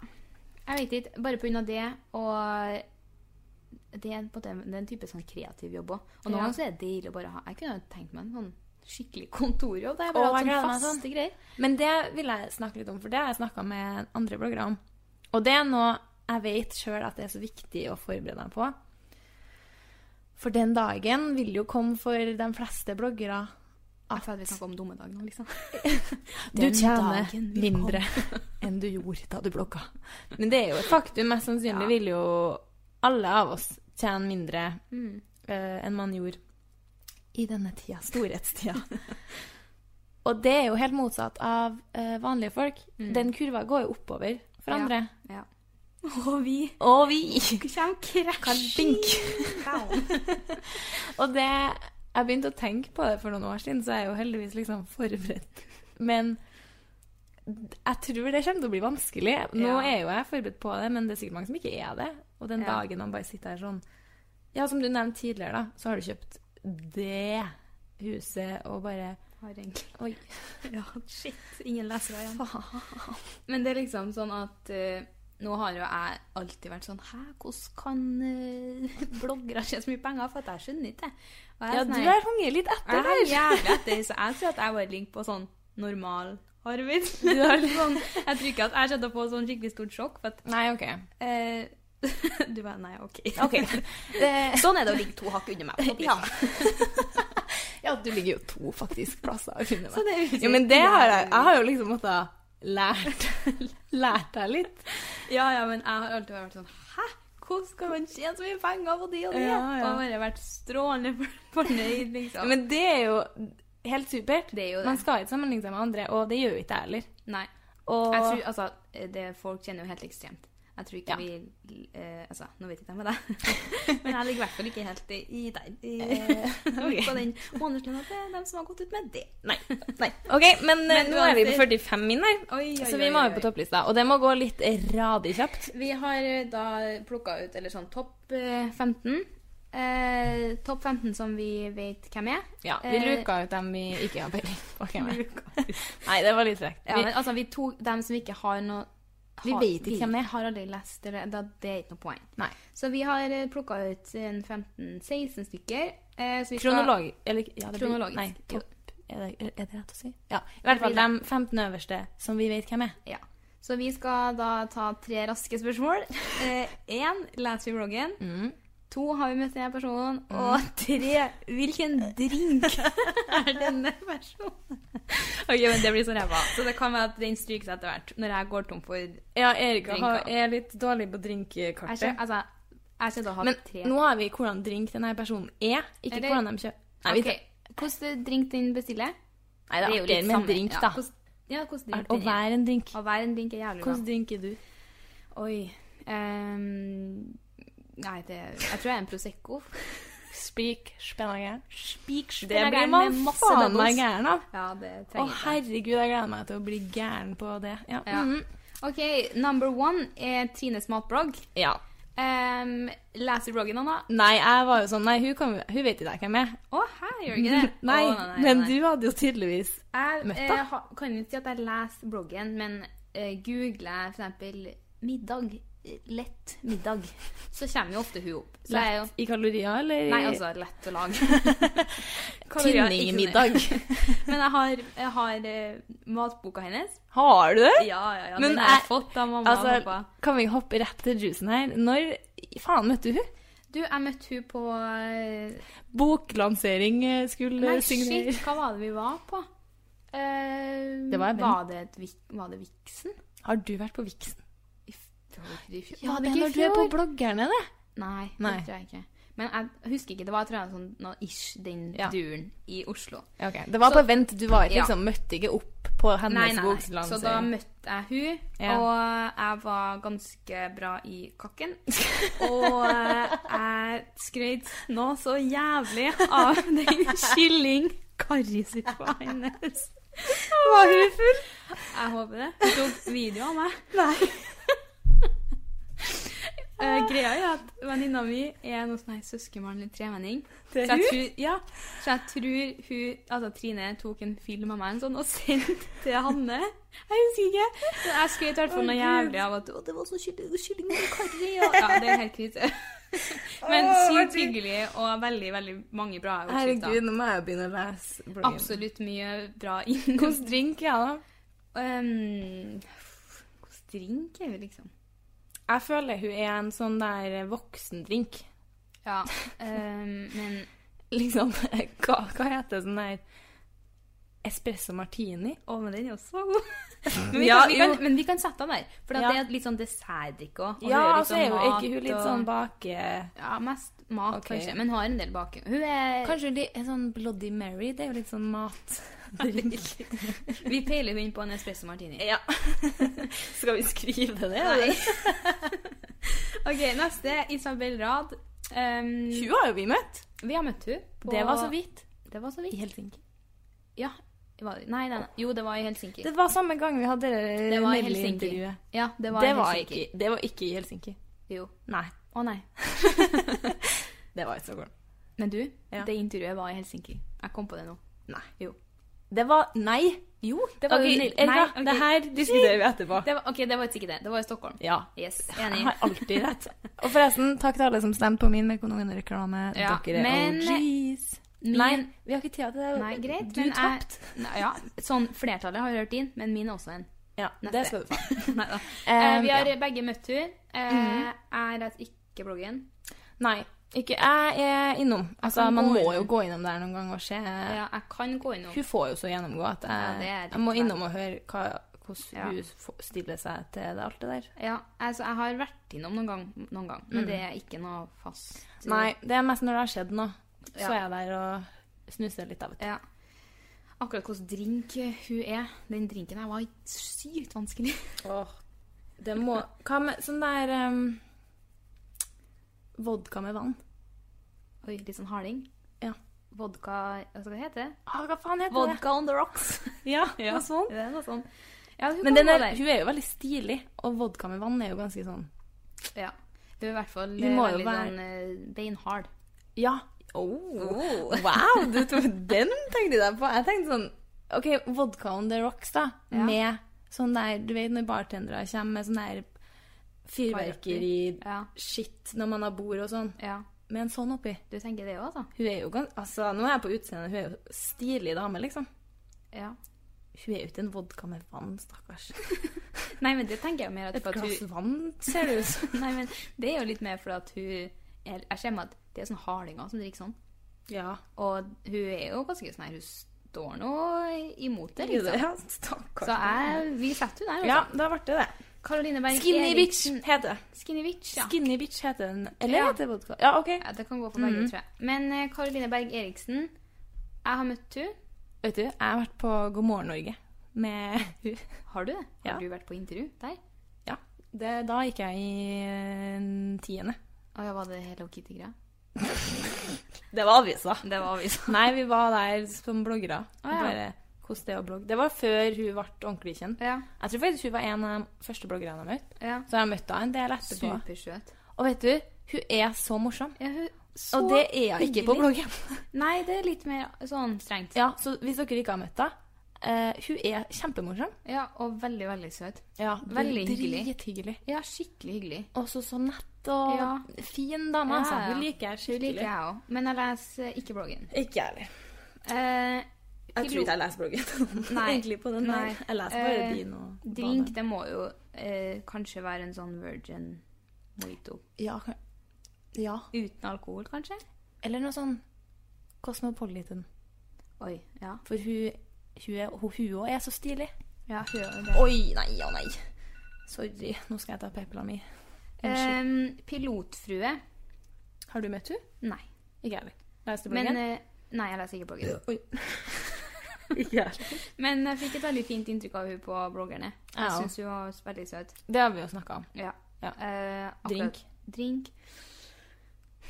Speaker 3: Jeg vet ikke. Bare pga. det og det er, på en måte en- det er en type sånn kreativ jobb òg. Og noen
Speaker 2: Ja.
Speaker 3: ganger så er det deilig å bare ha Jeg kunne ha tenkt meg en sånn skikkelig *laughs* kontorjobb. Der
Speaker 2: Å,
Speaker 3: jeg bare
Speaker 2: jeg
Speaker 3: har
Speaker 2: gleder
Speaker 3: sånn
Speaker 2: meg
Speaker 3: faste greier.
Speaker 2: Men det vil jeg snakke litt om, for det har jeg snakka med andre bloggere om. Og det er noe jeg vet sjøl at det er så viktig å forberede meg på. For den dagen vil jo komme for de fleste bloggere
Speaker 3: Jeg føler vi snakker om dumme dager
Speaker 2: *laughs*
Speaker 3: nå, liksom.
Speaker 2: du
Speaker 3: Den
Speaker 2: tjener
Speaker 3: dagen vil
Speaker 2: mindre *laughs* enn du gjorde da du blogga. Men det er jo et faktum. Mest sannsynlig
Speaker 3: Ja.
Speaker 2: vil jo alle av oss tjene mindre
Speaker 3: Mm.
Speaker 2: eh, enn man gjorde i denne tida, storhetstida. *laughs* Og det er jo helt motsatt av eh, vanlige folk. Den kurva går jo oppover for
Speaker 3: Ja.
Speaker 2: andre.
Speaker 3: Ja. Og vi
Speaker 2: Og vi
Speaker 3: kommer
Speaker 2: *laughs*
Speaker 3: krasjing
Speaker 2: Kalbink. *laughs* Og det Jeg begynte å tenke på det for noen år siden, så jeg er jo heldigvis liksom forberedt. Men jeg tror det kommer til å bli vanskelig. Nå
Speaker 3: Ja.
Speaker 2: er jo jeg forberedt på det, men det er sikkert mange som ikke er det. Og den
Speaker 3: Ja.
Speaker 2: dagen man bare sitter her sånn Ja, som du nevnte tidligere, da, så har du kjøpt det huset og bare
Speaker 3: Har egentlig
Speaker 2: Oi.
Speaker 3: *laughs* Ja, shit. Ingen lesere igjen. Men det er liksom sånn at eh, nå har jo jeg alltid vært sånn Hæ, hvordan kan eh, *laughs* bloggere tjene så mye penger? For at jeg skjønner ikke det. Og jeg er
Speaker 2: Ja,
Speaker 3: sånn
Speaker 2: du
Speaker 3: her-
Speaker 2: har hunget litt etter
Speaker 3: Jeg er
Speaker 2: der.
Speaker 3: jævlig etter, så jeg tror at jeg bare ligger på sånn normal arbeid. *laughs* sånn, jeg tror ikke at jeg kjenner på sånn skikkelig stort sjokk. For at,
Speaker 2: Nei, OK.
Speaker 3: eh, *laughs* du bare Nei, OK. *laughs*
Speaker 2: Ok. Eh, Det-
Speaker 3: Sånn er det å ligge to hakk under meg. på
Speaker 2: Ja.
Speaker 3: toppen.
Speaker 2: *laughs* ja, du ligger jo to faktisk plasser under meg.
Speaker 3: Så det er jo
Speaker 2: Jo, men det har jeg Jeg har jo liksom måttet lært *laughs* Lært deg litt.
Speaker 3: Ja, ja, men jeg har alltid vært sånn Hæ? Hvordan skal man tjene så mye penger på det og det?
Speaker 2: Ja, ja.
Speaker 3: Og jeg har bare vært strålende for- fornøyd, liksom.
Speaker 2: Men det er jo helt supert.
Speaker 3: Det er jo det.
Speaker 2: Man skal ikke sammenligne seg med andre, og det gjør jo ikke jeg heller.
Speaker 3: Nei.
Speaker 2: Og
Speaker 3: Jeg tror, altså, det folk tjener jo helt ekstremt. Jeg tror
Speaker 2: Ja.
Speaker 3: ikke vi eh, Altså, nå vet jeg ikke jeg med deg, *laughs* men jeg ligger i hvert fall ikke helt i, i den *laughs* i,
Speaker 2: ok.
Speaker 3: *laughs* På den månedslønna til dem som har gått ut med det.
Speaker 2: Nei. nei. OK, men, eh,
Speaker 3: Men
Speaker 2: nå er vi på
Speaker 3: uansett-
Speaker 2: 45 min her,
Speaker 3: Oi, oi,
Speaker 2: så vi
Speaker 3: oi,
Speaker 2: må
Speaker 3: oi,
Speaker 2: jo på
Speaker 3: oi.
Speaker 2: topplista. Og det må gå litt radig kjapt.
Speaker 3: Vi har eh, da plukka ut eller sånn topp eh, 15. Eh, topp 15 som vi vet hvem er.
Speaker 2: Ja, vi
Speaker 3: Eh,
Speaker 2: luka ut dem vi ikke har peiling på. hvem er. Nei, det var litt frekt.
Speaker 3: *laughs* Ja,
Speaker 2: Vi-
Speaker 3: men altså, vi tok dem som ikke har noe
Speaker 2: Vi
Speaker 3: har-
Speaker 2: vet ikke hvem det er.
Speaker 3: Har aldri lest det. Da, det er ikke noe poeng.
Speaker 2: Nei.
Speaker 3: Så vi har plukka ut en 15-16 stykker. Eh, så vi skal-
Speaker 2: Kronolog... Eller, ja, det blir,
Speaker 3: Kronologisk,
Speaker 2: Nei,
Speaker 3: jo.
Speaker 2: topp er det, er det rett å si? Ja. I hvert fall
Speaker 3: blir
Speaker 2: de 15 øverste som vi vet hvem er.
Speaker 3: Ja. Så vi skal da ta tre raske *laughs* spørsmål. Én leser vi bloggen. To har vi møtt denne personen. Og tre hvilken *laughs* drink er denne personen? ok, men Det blir så ræva. Så det kan være at den stryker seg etter hvert. Når jeg går tom for Jeg
Speaker 2: Ja, Erika
Speaker 3: Drinker.
Speaker 2: har- er litt dårlig på
Speaker 3: skal,
Speaker 2: drinkkartet.
Speaker 3: altså, jeg skal da ha
Speaker 2: Men
Speaker 3: tre.
Speaker 2: nå har vi hvordan drink denne personen er, ikke
Speaker 3: Eller-
Speaker 2: hvordan de kjøper. Nei, vi-
Speaker 3: Ok, Hvordan drink den bestiller?
Speaker 2: Nei, det er
Speaker 3: litt
Speaker 2: artigere med en
Speaker 3: samme.
Speaker 2: drink, da.
Speaker 3: Ja, hvordan- ja, hvordan
Speaker 2: Å
Speaker 3: drink den er.
Speaker 2: være en drink.
Speaker 3: Å være en drink er jævlig bra.
Speaker 2: Hvordan drink er du?
Speaker 3: Oi. ehm, nei, det Jeg tror jeg er en Prosecco.
Speaker 2: Spik, spennende. Spik,
Speaker 3: Det
Speaker 2: spennende.
Speaker 3: blir man faen meg
Speaker 2: gæren av.
Speaker 3: Ja, det
Speaker 2: Å,
Speaker 3: trenger
Speaker 2: herregud,
Speaker 3: jeg.
Speaker 2: jeg gleder meg til å bli gæren på det. Ja.
Speaker 3: Ja.
Speaker 2: Mhm.
Speaker 3: OK, number one er Trines matblogg.
Speaker 2: ja.
Speaker 3: Um, leser du bloggen, Anna?
Speaker 2: Nei, jeg var jo sånn Nei, hun, kan, hun vet ikke hvem jeg er.
Speaker 3: Å, her gjør du ikke det?
Speaker 2: *laughs* Nei,
Speaker 3: Å, nei, nei,
Speaker 2: men
Speaker 3: nei.
Speaker 2: du hadde jo tydeligvis
Speaker 3: Jeg
Speaker 2: Møtt, da.
Speaker 3: eh, ha- kan jo ikke si at jeg leser bloggen, men eh, googler for eksempel middag, eh, lett middag, så kommer jo ofte hun opp. Så jeg er jo
Speaker 2: lett i kalorier, eller?
Speaker 3: Nei, altså, lett
Speaker 2: *laughs*
Speaker 3: å lage. Kalorier,
Speaker 2: Tynning i
Speaker 3: ikke
Speaker 2: middag.
Speaker 3: sånn. *laughs* Men jeg har, jeg har eh, matboka hennes.
Speaker 2: Har du det?
Speaker 3: Ja, ja, ja.
Speaker 2: Men
Speaker 3: den har
Speaker 2: jeg-
Speaker 3: jeg fått av mamma og
Speaker 2: Altså,
Speaker 3: pappa.
Speaker 2: kan vi hoppe rett til juicen her? Når faen møtte du hun?
Speaker 3: Du, jeg møtte hun på eh,
Speaker 2: Boklansering eh, skulle
Speaker 3: Nei,
Speaker 2: signere.
Speaker 3: shit, hva var det vi var på? Eh,
Speaker 2: Det var en venn.
Speaker 3: var det, et, vik- var det Viksen?
Speaker 2: Har du vært på Vixen?
Speaker 3: I f- det var ikke i fjor.
Speaker 2: Ja,
Speaker 3: Var
Speaker 2: det er
Speaker 3: ikke i
Speaker 2: når du er på
Speaker 3: fjor?
Speaker 2: bloggerne, det.
Speaker 3: Nei,
Speaker 2: Nei.
Speaker 3: det tror jeg ikke. Men jeg husker ikke. Det var tror jeg, sånn noe ish den
Speaker 2: Ja.
Speaker 3: duren i Oslo.
Speaker 2: Ok, Det var
Speaker 3: Så-
Speaker 2: på vent. Du var ikke,
Speaker 3: Ja.
Speaker 2: liksom, møtte ikke opp på
Speaker 3: Nei,
Speaker 2: hennes
Speaker 3: nei, nei. Så da
Speaker 2: boklansering.
Speaker 3: møtte jeg hun,
Speaker 2: Ja.
Speaker 3: og jeg var ganske bra i kakken. Og eh, jeg skrøt nå så jævlig av *laughs* den
Speaker 2: *laughs*
Speaker 3: kylling-karrisuppa hennes. Var hun full? Jeg håper det. Hun tok video av meg. *laughs* Nei. Eh, greia er at venninna mi er noe sånn her søskenbarnlig tremenning. Så
Speaker 2: Til
Speaker 3: jeg
Speaker 2: hun?
Speaker 3: tror, ja, så jeg tror hun, altså Trine tok en film av meg en sånn og *laughs* sendte til Hanne. Jeg husker ikke. Men jeg skrøt i hvert fall noe jævlig av at «Å, det var så kylling kylling med karri. Og, ja, det er helt krise. *laughs* Men sykt hyggelig og veldig, veldig mange bra
Speaker 2: Herregud,
Speaker 3: oppskrifter.
Speaker 2: nå må jeg begynne å lese bloggen.
Speaker 3: Absolutt mye bra innhold.
Speaker 2: Hvordan drink er det?
Speaker 3: Um, Hvordan drink er vi, liksom?
Speaker 2: Jeg føler hun er en sånn der voksendrink.
Speaker 3: Ja, *laughs* ehm, men
Speaker 2: *laughs* Liksom, hva, hva heter sånn der Espresso martini?
Speaker 3: Å, men den er også god. men, vi
Speaker 2: Ja,
Speaker 3: kan, vi kan,
Speaker 2: jo.
Speaker 3: men vi kan sette den der. For at
Speaker 2: Ja.
Speaker 3: det er litt sånn dessertdrikk òg.
Speaker 2: ja, så er jo ikke hun litt sånn bake...
Speaker 3: liksom Ja, mest mat,
Speaker 2: Ok.
Speaker 3: kanskje. Men har en del bak. Hun er
Speaker 2: Kanskje hun er sånn Bloody Mary? Det er jo litt sånn
Speaker 3: *laughs*
Speaker 2: matdrink.
Speaker 3: Vi peiler hun inn på en espresso martini.
Speaker 2: ja. *laughs* Skal vi skrive det?
Speaker 3: Nei. *laughs*
Speaker 2: eller?
Speaker 3: OK, neste. Isabel Rad. Ehm,
Speaker 2: Hun har jo vi møtt.
Speaker 3: vi har møtt hun på
Speaker 2: Det var så vidt.
Speaker 3: Det var så vidt.
Speaker 2: I Helsinki.
Speaker 3: Ja. Var det- Nei, nei, nei. Jo, det var i Helsinki.
Speaker 2: Det var samme gang vi hadde
Speaker 3: Det var i Helsinki.
Speaker 2: Nelly-intervjuet.
Speaker 3: Ja, det var
Speaker 2: Det,
Speaker 3: i
Speaker 2: var
Speaker 3: Helsinki.
Speaker 2: ikke- det var ikke i Helsinki.
Speaker 3: Jo.
Speaker 2: Nei.
Speaker 3: Å nei.
Speaker 2: Det var i Stockholm.
Speaker 3: Men du,
Speaker 2: Ja.
Speaker 3: det intervjuet var i Helsinki. Jeg kom på det nå.
Speaker 2: Nei.
Speaker 3: Jo.
Speaker 2: Det var Nei! Jo, det var
Speaker 3: Ok,
Speaker 2: jo
Speaker 3: nei,
Speaker 2: Nelly- Erika,
Speaker 3: ok.
Speaker 2: det her diskuterer vi etterpå.
Speaker 3: Det var, ok, det var ikke det. Det var i Stockholm.
Speaker 2: Ja.
Speaker 3: Yes,
Speaker 2: Jeg
Speaker 3: enig.
Speaker 2: har alltid rett. Og forresten, takk til alle som stemte på min Mekonomen-reklame.
Speaker 3: Ja,
Speaker 2: Dere er
Speaker 3: men-
Speaker 2: OGs.
Speaker 3: *laughs* Min-
Speaker 2: Nei, vi har ikke tid til det.
Speaker 3: Nei, greit.
Speaker 2: Du
Speaker 3: men jeg-
Speaker 2: tapte.
Speaker 3: Nei, Ja, sånn flertallet har hørt din, men min er også en.
Speaker 2: Ja,
Speaker 3: Neste.
Speaker 2: det skal du få.
Speaker 3: *laughs* Neida.
Speaker 2: *laughs* Eh,
Speaker 3: Eh, vi har
Speaker 2: ja. Mhm.
Speaker 3: begge møtt hun. Eh, jeg leser ikke bloggen.
Speaker 2: Nei, ikke jeg er innom. Altså,
Speaker 3: kan
Speaker 2: man
Speaker 3: gå
Speaker 2: må
Speaker 3: inn.
Speaker 2: jo gå innom der noen ganger og se.
Speaker 3: Ja, jeg kan gå innom.
Speaker 2: Hun får jo så gjennomgå at
Speaker 3: Ja,
Speaker 2: jeg,
Speaker 3: det er litt
Speaker 2: jeg må
Speaker 3: bra.
Speaker 2: innom og høre hva, hvordan
Speaker 3: Ja.
Speaker 2: hun f- stiller seg til det, alt det der.
Speaker 3: Ja, altså, jeg har vært innom noen gang, noen gang men det er ikke noe fast.
Speaker 2: Mm.
Speaker 3: eh,
Speaker 2: Nei, det er mest når det har skjedd noe. Så
Speaker 3: Ja.
Speaker 2: er jeg der og snuser litt, da, vet du.
Speaker 3: Ja. Akkurat hvordan drink hun er. Den drinken her var sykt vanskelig. *laughs*
Speaker 2: Åh, det må Hva med sånn der ehm, Vodka med vann.
Speaker 3: Oi, litt sånn harding.
Speaker 2: Ja.
Speaker 3: Vodka altså, Hva heter det?
Speaker 2: Ah, hva faen heter
Speaker 3: Vodka on the *laughs* rocks.
Speaker 2: det? Ja, noe sånt.
Speaker 3: Det er noe sånn. Ja, hun
Speaker 2: Men
Speaker 3: kan
Speaker 2: den
Speaker 3: gå
Speaker 2: er,
Speaker 3: der.
Speaker 2: hun er jo veldig stilig, og vodka med vann er jo ganske sånn
Speaker 3: Ja. Du er i hvert fall
Speaker 2: Vi må
Speaker 3: eh,
Speaker 2: jo
Speaker 3: veldig
Speaker 2: være-
Speaker 3: sånn eh, beinhard.
Speaker 2: Ja.
Speaker 3: Oh.
Speaker 2: *laughs* Wow, du tok den tenkte jeg deg på. Jeg tenkte sånn OK, vodka on the rocks, da.
Speaker 3: Ja.
Speaker 2: Med sånn der Du vet når bartendere kommer med sånn der
Speaker 3: Ja.
Speaker 2: fyrverkeri-shit når man har bord og sånn,
Speaker 3: Ja.
Speaker 2: med en sånn oppi.
Speaker 3: Du tenker det òg, altså?
Speaker 2: Hun er jo gans... Altså, nå er jeg på utseendet, hun er jo stilig dame, liksom.
Speaker 3: Ja.
Speaker 2: Hun er jo ikke en vodka med vann, stakkars.
Speaker 3: Nei, men det tenker jeg mer at,
Speaker 2: Et
Speaker 3: for at
Speaker 2: glass
Speaker 3: hun
Speaker 2: vann, ser det ut som.
Speaker 3: Nei, men det er jo litt mer fordi at hun Jeg, jeg ser meg at det er sånn hardinger som drikker sånn.
Speaker 2: Ja.
Speaker 3: Og hun er jo ganske sånn her Hun står nå imot det, liksom.
Speaker 2: Ja, sånn. stakkars.
Speaker 3: Så jeg, vi setter henne der,
Speaker 2: Ja,
Speaker 3: altså.
Speaker 2: da ble det det.
Speaker 3: Caroline Berg
Speaker 2: Skinny bitch
Speaker 3: Eriksen.
Speaker 2: heter det.
Speaker 3: Skinny bitch, sånn- ja.
Speaker 2: Skinny bitch heter den. Eller
Speaker 3: Ja.
Speaker 2: heter det vodka? Ja, OK. Mm.
Speaker 3: ja. Det kan gå på begge, tror jeg. Men eh, Caroline Berg Eriksen Jeg har møtt hun.
Speaker 2: Vet du, jeg har vært på God morgen Norge med hun.
Speaker 3: Har du det? Har
Speaker 2: Ja.
Speaker 3: du vært på intervju der?
Speaker 2: Ja. Det, da gikk jeg i eh, tiende.
Speaker 3: Å ja, var det Hello Kitty-greia?
Speaker 2: Det var avisa. *laughs*
Speaker 3: Det var vi sånn.
Speaker 2: Nei, vi var der som bloggere. Og
Speaker 3: ja.
Speaker 2: bare hvordan det er å blogge. Det var før hun ble ordentlig kjent.
Speaker 3: Ja.
Speaker 2: Jeg tror faktisk hun var en av de første bloggerne jeg møtte.
Speaker 3: ja.
Speaker 2: Så jeg møtte henne en del etterpå.
Speaker 3: Supersøt.
Speaker 2: Og vet du, hun er så morsom.
Speaker 3: Ja, hun, så
Speaker 2: Og det er hun ikke på
Speaker 3: hyggelig.
Speaker 2: bloggen.
Speaker 3: Nei, det er litt mer sånn strengt.
Speaker 2: Ja, så hvis dere ikke har møtt henne eh, Hun er kjempemorsom.
Speaker 3: Ja, og veldig, veldig søt.
Speaker 2: Ja,
Speaker 3: veldig hyggelig.
Speaker 2: Drithyggelig.
Speaker 3: Ja, skikkelig hyggelig.
Speaker 2: Og så så nett og
Speaker 3: Ja.
Speaker 2: fin dame. altså.
Speaker 3: Ja, ja.
Speaker 2: Hun liker jeg
Speaker 3: Hun
Speaker 2: skikkelig.
Speaker 3: liker jeg òg. Men jeg leser eh, ikke bloggen.
Speaker 2: Ikke jeg heller.
Speaker 3: Eh,
Speaker 2: Jeg tror ikke jeg leser *laughs* bloggen.
Speaker 3: Nei.
Speaker 2: Egentlig på den
Speaker 3: Nei.
Speaker 2: der. Jeg leser bare
Speaker 3: Eh,
Speaker 2: din og
Speaker 3: drink, det må jo eh, kanskje være en sånn virgin mojito.
Speaker 2: Ja, kan- Ja.
Speaker 3: Uten alkohol, kanskje?
Speaker 2: Eller noe sånn Cosmopolitan.
Speaker 3: Oi, ja.
Speaker 2: For hun hun er- hun- hun òg er så stilig.
Speaker 3: Ja, hører det.
Speaker 2: Oi, nei, ja, nei. Sorry. Nå skal jeg ta pepla mi. Unnskyld.
Speaker 3: Ehm, pilotfrue.
Speaker 2: Har du møtt hun?
Speaker 3: Nei.
Speaker 2: Ikke jeg heller. Leste
Speaker 3: Men
Speaker 2: bloggen?
Speaker 3: eh, Nei, jeg leser ikke bloggen.
Speaker 2: Oi. *laughs* Ikke jeg heller.
Speaker 3: Men jeg fikk et veldig fint inntrykk av hun på bloggerne. Jeg
Speaker 2: Ja.
Speaker 3: synes hun var veldig søt.
Speaker 2: Det har vi jo snakka om.
Speaker 3: Ja.
Speaker 2: Ja.
Speaker 3: Eh, akkurat-
Speaker 2: Drink.
Speaker 3: Drink.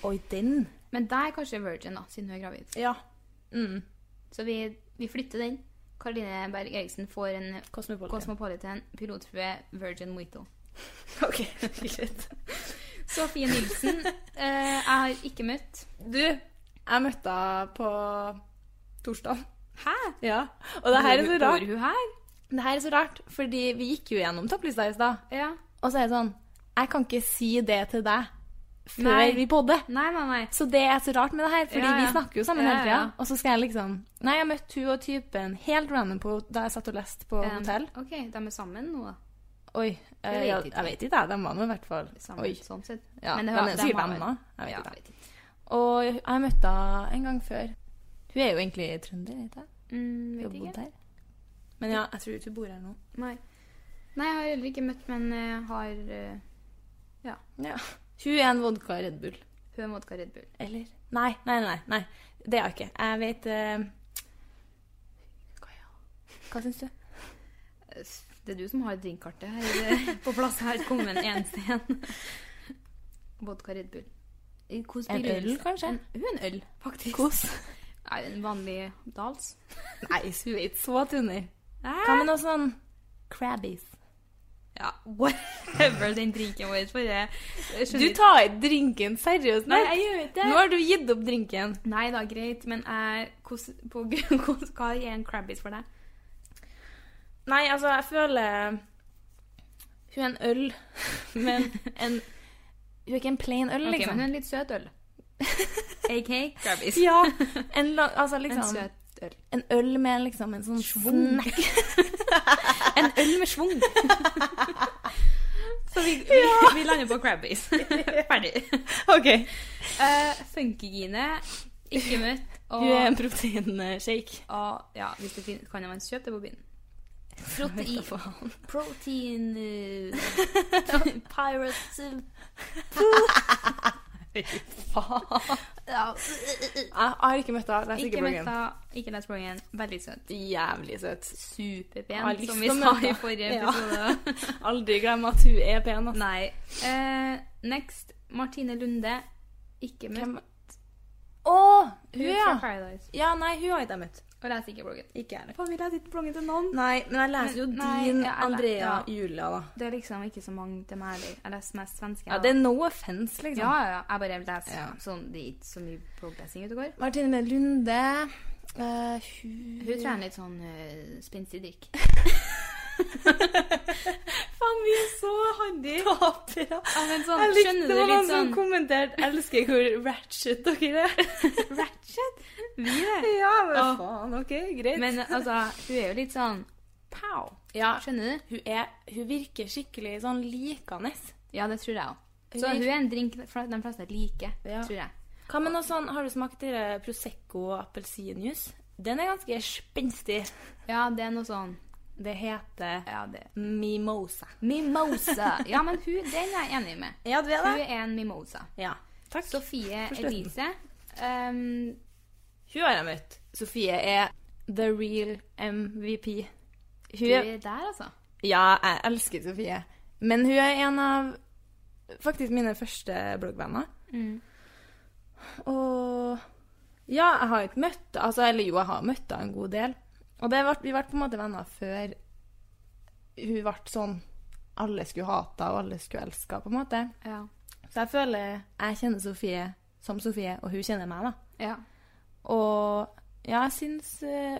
Speaker 2: Oi, den.
Speaker 3: Men der er kanskje Virgin, da, siden hun er gravid.
Speaker 2: Ja. Mm.
Speaker 3: Så vi, vi flytter den. Karoline Berg Eriksen får en
Speaker 2: Cosmopolitan.
Speaker 3: Cosmopolitan, pilotfrue, Virgin Mojito.
Speaker 2: *laughs* ok, greit.
Speaker 3: Sofie Nilsen eh, jeg har ikke møtt.
Speaker 2: Du, jeg møtte henne på torsdag.
Speaker 3: Hæ?
Speaker 2: Ja. Og det her er så
Speaker 3: Bor-
Speaker 2: rart.
Speaker 3: Bor hun her?
Speaker 2: Det her er så rart, fordi vi gikk jo gjennom topplista i stad.
Speaker 3: Ja.
Speaker 2: Og så er det sånn Jeg kan ikke si det til deg før
Speaker 3: Nei.
Speaker 2: vi podder.
Speaker 3: Nei, nei, nei.
Speaker 2: Så det er så rart med det her, fordi
Speaker 3: Ja, ja.
Speaker 2: vi snakker jo sammen
Speaker 3: Ja,
Speaker 2: hele tida.
Speaker 3: ja, ja.
Speaker 2: Og så skal jeg liksom Nei, jeg møtte hun og typen helt random på, da jeg satt og leste på
Speaker 3: Um,
Speaker 2: hotell.
Speaker 3: OK, de er sammen nå, da.
Speaker 2: Oi. eh,
Speaker 3: jeg vet
Speaker 2: ja,
Speaker 3: ikke.
Speaker 2: jeg vet ikke, jeg. De var nå i hvert fall
Speaker 3: Sammen,
Speaker 2: Oi.
Speaker 3: sånn sett.
Speaker 2: Ja,
Speaker 3: Men det
Speaker 2: de
Speaker 3: har-
Speaker 2: er sikkert
Speaker 3: har vel-
Speaker 2: venner. Jeg vet
Speaker 3: Ja,
Speaker 2: ikke.
Speaker 3: jeg vet ikke.
Speaker 2: Og jeg møtte henne en gang før. Hun er jo egentlig trønder, ikke sant?
Speaker 3: Mm,
Speaker 2: Hun har
Speaker 3: vet
Speaker 2: bodd
Speaker 3: ikke.
Speaker 2: her. Men ja, jeg tror ikke hun bor her nå.
Speaker 3: Nei. nei, jeg har heller ikke møtt, men eh, har eh,
Speaker 2: Ja. Hun er en vodka Red Bull.
Speaker 3: Hun er vodka Red Bull.
Speaker 2: Eller Nei, nei, nei. nei. Det er hun ikke. Jeg vet eh, Hva, ja. Hva syns du?
Speaker 3: Det er du som har drinkkartet her eh, *laughs* på plass. Her kommer en eneste en. *laughs* Vodka Red Bull. I hvordan
Speaker 2: En øl,
Speaker 3: begrunnelse?
Speaker 2: kanskje?
Speaker 3: En- Hun er en øl, faktisk.
Speaker 2: Kos?
Speaker 3: Nei, en vanlig dals. *laughs*
Speaker 2: Nei, hun vet så tunner.
Speaker 3: Hæ?
Speaker 2: Hva med noe sånn Crabbies?
Speaker 3: Ja, whatever den drinken vår for jeg
Speaker 2: Du
Speaker 3: skjønner ikke-
Speaker 2: tar ikke drinken seriøst.
Speaker 3: Nei, jeg gjør ikke det.
Speaker 2: Nå har du gitt opp drinken.
Speaker 3: Nei da, greit, men jeg, hvordan- på, *laughs* hvordan- hva er en Crabbies for deg?
Speaker 2: Nei, altså, jeg føler Hun er en øl, *laughs* men en Hun er ikke en plain øl,
Speaker 3: Ok,
Speaker 2: liksom.
Speaker 3: men en litt søt øl. AK Crabbies.
Speaker 2: Ja, en, la- altså,
Speaker 3: En
Speaker 2: liksom, en,
Speaker 3: søt øl.
Speaker 2: øl med liksom en sånn
Speaker 3: Schwung.
Speaker 2: snack.
Speaker 3: En øl med schwung. *laughs* Så vi, vi, vi lander på *laughs* Crabbies. Ferdig.
Speaker 2: Ok.
Speaker 3: Uh, Funkygine, ikke møtt. Og,
Speaker 2: Hun er en proteinshake.
Speaker 3: og ja, hvis det finnes, kan man kjøpe det på byen. Protein, *laughs* protein eh, Pirates eh, ja,
Speaker 2: Jeg har ikke møtt henne. Les
Speaker 3: Ikke
Speaker 2: ikke bloggen.
Speaker 3: møtta, ikke les bloggen. Veldig søt.
Speaker 2: Jævlig søt. Jeg har
Speaker 3: Superpen,
Speaker 2: lyst
Speaker 3: som vi
Speaker 2: til å
Speaker 3: sa
Speaker 2: møte
Speaker 3: i
Speaker 2: henne.
Speaker 3: forrige
Speaker 2: Ja.
Speaker 3: episode.
Speaker 2: Aldri glem at hun er pen. Altså.
Speaker 3: Nei. Eh, next. Martine Lunde. Ikke møtt.
Speaker 2: Hvem- Å,
Speaker 3: Hun
Speaker 2: hun,
Speaker 3: fra
Speaker 2: ja.
Speaker 3: Paradise.
Speaker 2: Ja, nei, hun har ikke jeg møtt.
Speaker 3: Og leser ikke bloggen.
Speaker 2: Ikke jeg
Speaker 3: Faen, vi leser ikke bloggen til noen.
Speaker 2: Nei, men jeg leser jo
Speaker 3: Men- nei,
Speaker 2: din,
Speaker 3: jeg- jeg-
Speaker 2: Andrea,
Speaker 3: ja.
Speaker 2: Julia, da.
Speaker 3: Det er liksom ikke så mange til meg heller. Jeg leser mest svenske.
Speaker 2: Ja,
Speaker 3: da.
Speaker 2: det er no offense, liksom.
Speaker 3: ja, ja, ja. Jeg bare leser
Speaker 2: Ja.
Speaker 3: sånn Det er ikke så mye blogglesing ute og går.
Speaker 2: Martine Lunde eh, Hun
Speaker 3: Hun trener litt sånn
Speaker 2: eh,
Speaker 3: uh, spenstig drikk.
Speaker 2: *laughs* Faen, vi er så handy! *laughs* Tapere.
Speaker 3: *laughs* Ja, men sånn,
Speaker 2: Jeg likte det
Speaker 3: skjønner du
Speaker 2: var noen
Speaker 3: litt
Speaker 2: som
Speaker 3: sånn
Speaker 2: kommenterte 'elsker hvor ratchet dere er'. ratchet?
Speaker 3: Vi er
Speaker 2: *laughs* Ja, men
Speaker 3: Åh.
Speaker 2: faen, ok, greit.
Speaker 3: Men altså, hun er jo litt sånn pow.
Speaker 2: Ja.
Speaker 3: Skjønner du?
Speaker 2: hun, er, hun virker skikkelig sånn likende.
Speaker 3: Ja, det tror jeg òg.
Speaker 2: Hun
Speaker 3: Så
Speaker 2: er-
Speaker 3: hun er en drink de fleste liker,
Speaker 2: Ja.
Speaker 3: tror jeg.
Speaker 2: Hva med noe sånn, Har du smakt dere Prosecco og appelsinjuice? Den er ganske spenstig.
Speaker 3: Ja, det er noe sånn
Speaker 2: Det heter
Speaker 3: Ja, det
Speaker 2: mimosa.
Speaker 3: Mimosa. Ja, men hun, den er jeg enig med.
Speaker 2: Ja, du er
Speaker 3: Hun
Speaker 2: det?
Speaker 3: er en mimosa.
Speaker 2: Ja. Takk.
Speaker 3: Sofie
Speaker 2: Forstår den.
Speaker 3: Elise. ehm,
Speaker 2: Hun har jeg møtt. Sofie er the real MVP.
Speaker 3: du
Speaker 2: Hun er,
Speaker 3: er der, altså.
Speaker 2: ja, jeg elsker Sofie. Men hun er en av faktisk mine første bloggvenner. Og ja, jeg har ikke møtt altså, Eller jo, jeg har møtt henne en god del. Og det ble, vi ble på en måte venner før hun ble sånn Alle skulle hate henne, og alle skulle elske henne, på en måte.
Speaker 3: Ja.
Speaker 2: Så jeg føler jeg kjenner Sofie som Sofie, og hun kjenner meg, da.
Speaker 3: ja.
Speaker 2: Og ja, jeg syns eh,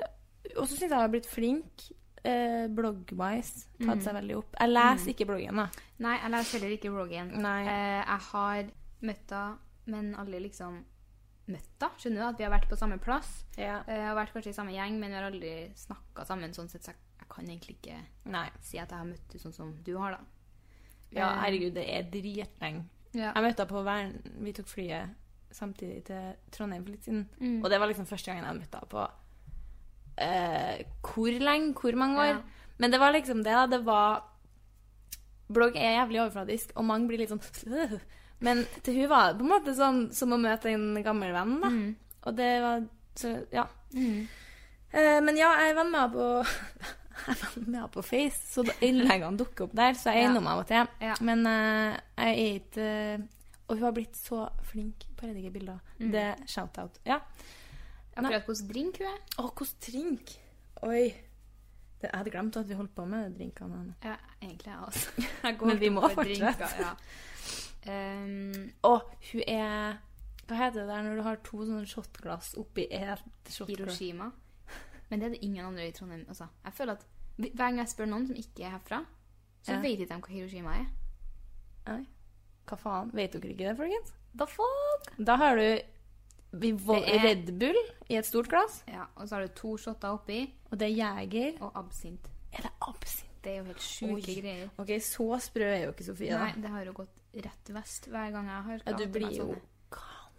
Speaker 2: Og så syns jeg jeg har blitt flink eh, blogg-wise. Tatt seg veldig opp. Jeg leser ikke bloggen, da.
Speaker 3: Nei, jeg leser heller ikke bloggen.
Speaker 2: Nei.
Speaker 3: Eh, jeg har møtt henne, men aldri liksom møtt henne. Skjønner du at vi har vært på samme plass? Eh, Jeg har vært kanskje i samme gjeng, men vi har aldri snakka sammen. sånn sett, Så jeg, jeg kan egentlig ikke
Speaker 2: Nei.
Speaker 3: si at jeg har møtt henne sånn som du har, da.
Speaker 2: Ja,
Speaker 3: Eh,
Speaker 2: herregud, det er dritlenge
Speaker 3: Ja.
Speaker 2: Jeg møtte henne på Vern. Vi tok flyet samtidig til Trondheim for litt siden.
Speaker 3: Mm.
Speaker 2: Og det var liksom første gangen jeg møtte henne på eh, hvor lenge, hvor mange år.
Speaker 3: Ja.
Speaker 2: Men det var liksom det, da. Det var Blogg er jævlig overfladisk, og mange blir litt sånn «Øh». Men til hun var det på en måte sånn som å møte en gammel venn, da.
Speaker 3: Mm.
Speaker 2: Og det var så, Ja.
Speaker 3: Mm.
Speaker 2: Eh, men ja, jeg er venn med henne på *laughs* jeg er venn med henne på Face, så da- innleggene dukker opp der. Så jeg er
Speaker 3: Ja.
Speaker 2: innom av og til.
Speaker 3: Ja.
Speaker 2: Men eh, jeg er ikke eh, Og hun har blitt så flink på å redigere bilder. Det er shout-out. Ja.
Speaker 3: Akkurat hvordan drink hun er.
Speaker 2: Å, hvordan drink! Oi. Det, jeg hadde glemt at vi holdt på med drinkene. hennes.
Speaker 3: Ja, egentlig jeg også. *laughs*
Speaker 2: Men vi må fortsette.
Speaker 3: Drinker, ja. Ehm,
Speaker 2: Å, hun er Hva heter det der når du har to sånne shotglass oppi ett shotglass?
Speaker 3: Hiroshima. Men det er det ingen andre i Trondheim. Altså, jeg føler at hver gang jeg spør noen som ikke er herfra, så
Speaker 2: Ja.
Speaker 3: vet ikke de hva Hiroshima er.
Speaker 2: Nei. Hva faen? Vet dere ikke det, folkens?
Speaker 3: The fuck?
Speaker 2: Da har du Vivo-
Speaker 3: Det er-
Speaker 2: Red Bull i et stort glass,
Speaker 3: Ja, og så har du to shotter oppi,
Speaker 2: og det er Jeger.
Speaker 3: og absint.
Speaker 2: Er det absint?
Speaker 3: Det er jo helt sjuke
Speaker 2: Oi.
Speaker 3: greier.
Speaker 2: Ok, så sprø er jo ikke Sofie, da.
Speaker 3: Nei, det har jo gått rett vest hver gang jeg har
Speaker 2: Ja, du
Speaker 3: klart
Speaker 2: blir
Speaker 3: meg
Speaker 2: jo
Speaker 3: sånn.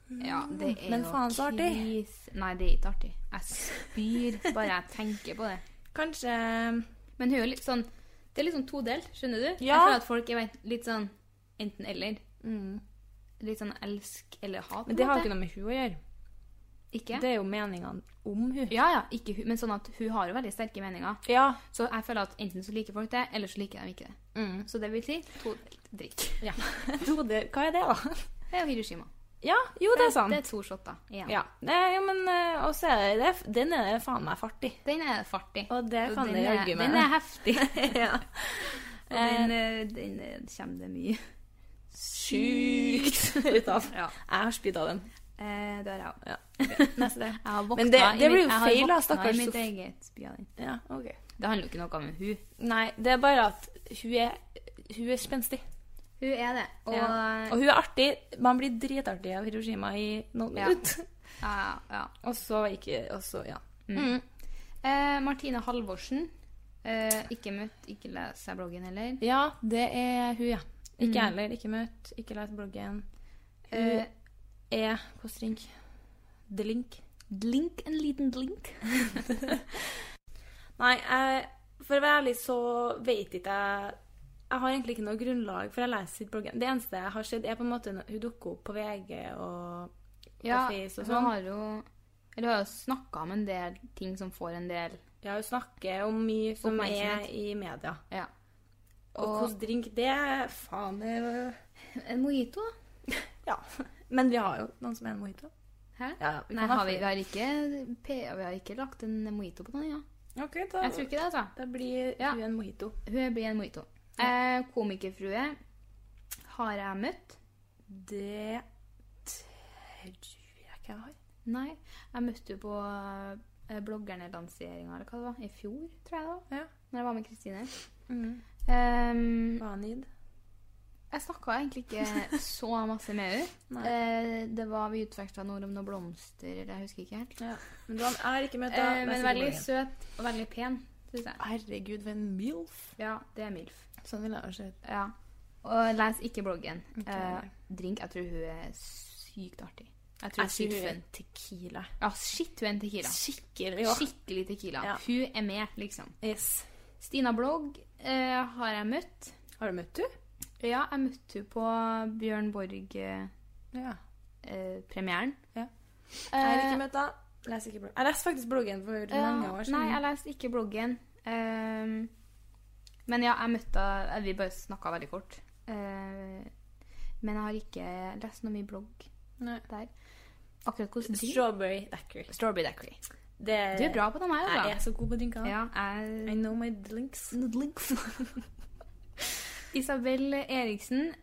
Speaker 3: Ja, det er
Speaker 2: Men
Speaker 3: jo
Speaker 2: faen, så artig.
Speaker 3: kris- Nei, det er ikke artig. Jeg spyr bare jeg tenker på det.
Speaker 2: Kanskje
Speaker 3: Men hun er jo litt sånn Det er litt sånn todelt, skjønner du? Jeg
Speaker 2: Ja.
Speaker 3: føler at folk er vent- litt sånn enten-eller. Litt sånn elsk eller hat. på
Speaker 2: Mm. Men det
Speaker 3: en
Speaker 2: har jo
Speaker 3: måte.
Speaker 2: ikke noe med hun å gjøre.
Speaker 3: Ikke?
Speaker 2: Det er jo meningene om hun.
Speaker 3: Ja, ja, ikke hun, men sånn at hun har jo veldig sterke meninger.
Speaker 2: Ja.
Speaker 3: Så jeg føler at enten så liker folk det, eller så liker de ikke det. Så det vil si todelt drikk.
Speaker 2: Mm.
Speaker 3: *laughs*
Speaker 2: ja. Tode, hva er det, da?
Speaker 3: Det er jo Hiroshima.
Speaker 2: Ja, jo, det er
Speaker 3: Det
Speaker 2: sant.
Speaker 3: er to shotter igjen.
Speaker 2: Ja, det, ja men eh, også er det, det Den er det faen meg fartig.
Speaker 3: Den er fartig.
Speaker 2: Og det kan
Speaker 3: den
Speaker 2: dere
Speaker 3: er-
Speaker 2: jaggu med.
Speaker 3: Den er
Speaker 2: *laughs*
Speaker 3: heftig. *laughs*
Speaker 2: Ja.
Speaker 3: Og den, eh, den eh, kommer det mye.
Speaker 2: *laughs* Sjukt ut av.
Speaker 3: Ja.
Speaker 2: Jeg har spydd av den.
Speaker 3: Eh, det har jeg òg.
Speaker 2: Ja. *laughs*
Speaker 3: Jeg har våkna
Speaker 2: Men det-
Speaker 3: i
Speaker 2: det blir
Speaker 3: mitt-
Speaker 2: jo
Speaker 3: jeg har
Speaker 2: feil, da,
Speaker 3: våkna
Speaker 2: stakkars
Speaker 3: i mitt
Speaker 2: Sof-
Speaker 3: eget spy av den.
Speaker 2: Ja, ok.
Speaker 3: Det handler jo ikke noe om hun.
Speaker 2: Nei, det er bare at hun er, hun er spenstig.
Speaker 3: Hun er det. Og
Speaker 2: ja. og hun er artig. Man blir dritartig av Hiroshima i noen
Speaker 3: Ja.
Speaker 2: minutter.
Speaker 3: ja, ja. Mm.
Speaker 2: Og så ikke Og så, ja.
Speaker 3: Eh, Martine Halvorsen. Eh, ikke møtt, ikke les seg bloggen heller.
Speaker 2: Ja, det er hun, ja. Ikke jeg heller. Ikke møtt, ikke lest bloggen. E, Hun
Speaker 3: Eh,
Speaker 2: er Hvordan drink? Drink.
Speaker 3: Blink en liten blink.
Speaker 2: Nei, jeg, for å være ærlig så vet ikke jeg Jeg har egentlig ikke noe grunnlag for jeg leser sitt bloggen. Det eneste jeg har sett, er på en måte når hun dukker opp på VG og på
Speaker 3: Ja,
Speaker 2: Face og
Speaker 3: hun
Speaker 2: sånn.
Speaker 3: har jo Eller hun har jo snakka om en del ting som får en del
Speaker 2: Ja, hun snakker om mye som er
Speaker 3: Oppmerksomhet.
Speaker 2: i media.
Speaker 3: Ja.
Speaker 2: Og hvordan drink det er, Faen, det er jo-
Speaker 3: En mojito?
Speaker 2: Ja. *laughs* Men vi har jo noen som er en mojito.
Speaker 3: Hæ?
Speaker 2: Ja, ja, vi
Speaker 3: Nei,
Speaker 2: kan ha
Speaker 3: har vi,
Speaker 2: flere.
Speaker 3: vi, har ikke, P- vi har ikke lagt en mojito på den, ja.
Speaker 2: Ok, da,
Speaker 3: Jeg tror ikke det, altså.
Speaker 2: da blir
Speaker 3: Ja.
Speaker 2: hun en mojito.
Speaker 3: Hun blir en mojito. Eh, komikerfrue har jeg møtt.
Speaker 2: Det tror jeg ikke jeg har.
Speaker 3: Nei, jeg møtte jo på eh, bloggerne-lanseringa eller hva det var, i fjor, tror jeg det var.
Speaker 2: Ja.
Speaker 3: Når jeg var med Kristine.
Speaker 2: Mm.
Speaker 3: Ehm,
Speaker 2: Vanid.
Speaker 3: jeg snakka egentlig ikke så masse med henne.
Speaker 2: *laughs* Nei.
Speaker 3: Eh, det var Vi utveksla noe om noen blomster, eller jeg husker ikke helt.
Speaker 2: Ja. Men du har jeg har ikke møtt
Speaker 3: Eh,
Speaker 2: henne.
Speaker 3: men veldig søt og veldig pen, syns jeg.
Speaker 2: Herregud, for en milf.
Speaker 3: Ja, det er MILF.
Speaker 2: Sånn ville jeg ha sett.
Speaker 3: Ja. Og les ikke bloggen.
Speaker 2: Ok.
Speaker 3: Eh, drink. Jeg tror hun er sykt artig. Jeg tror
Speaker 2: Jeg
Speaker 3: sykt
Speaker 2: tror hun er
Speaker 3: fun.
Speaker 2: tequila.
Speaker 3: Ja, shit, hun er en tequila.
Speaker 2: Skikkelig òg.
Speaker 3: Skikkelig tequila.
Speaker 2: Ja.
Speaker 3: Hun er med, liksom.
Speaker 2: Yes.
Speaker 3: Stina Blogg eh, har jeg møtt.
Speaker 2: Har du møtt henne?
Speaker 3: Ja, jeg møtte henne på Bjørn Borg-premieren.
Speaker 2: Ja. Ja.
Speaker 3: Eh,
Speaker 2: Jeg har ikke møtt henne. Leser ikke bloggen. Jeg leste faktisk bloggen for mange år siden.
Speaker 3: Nei, jeg leste ikke bloggen. Ehm, men ja, jeg møtte henne Eh, Vi bare snakka veldig kort. Eh, men jeg har ikke lest noe mye blogg
Speaker 2: Nei.
Speaker 3: der. Akkurat hvordan du
Speaker 2: Strawberry daiquiri.
Speaker 3: Strawberry Dackery.
Speaker 2: Det
Speaker 3: Du er bra på dem her,
Speaker 2: Eh, Jeg er
Speaker 3: altså.
Speaker 2: så god på drinker.
Speaker 3: Ja,
Speaker 2: I
Speaker 3: jeg...
Speaker 2: know my drinks. Drinks.
Speaker 3: Isabel Eriksen,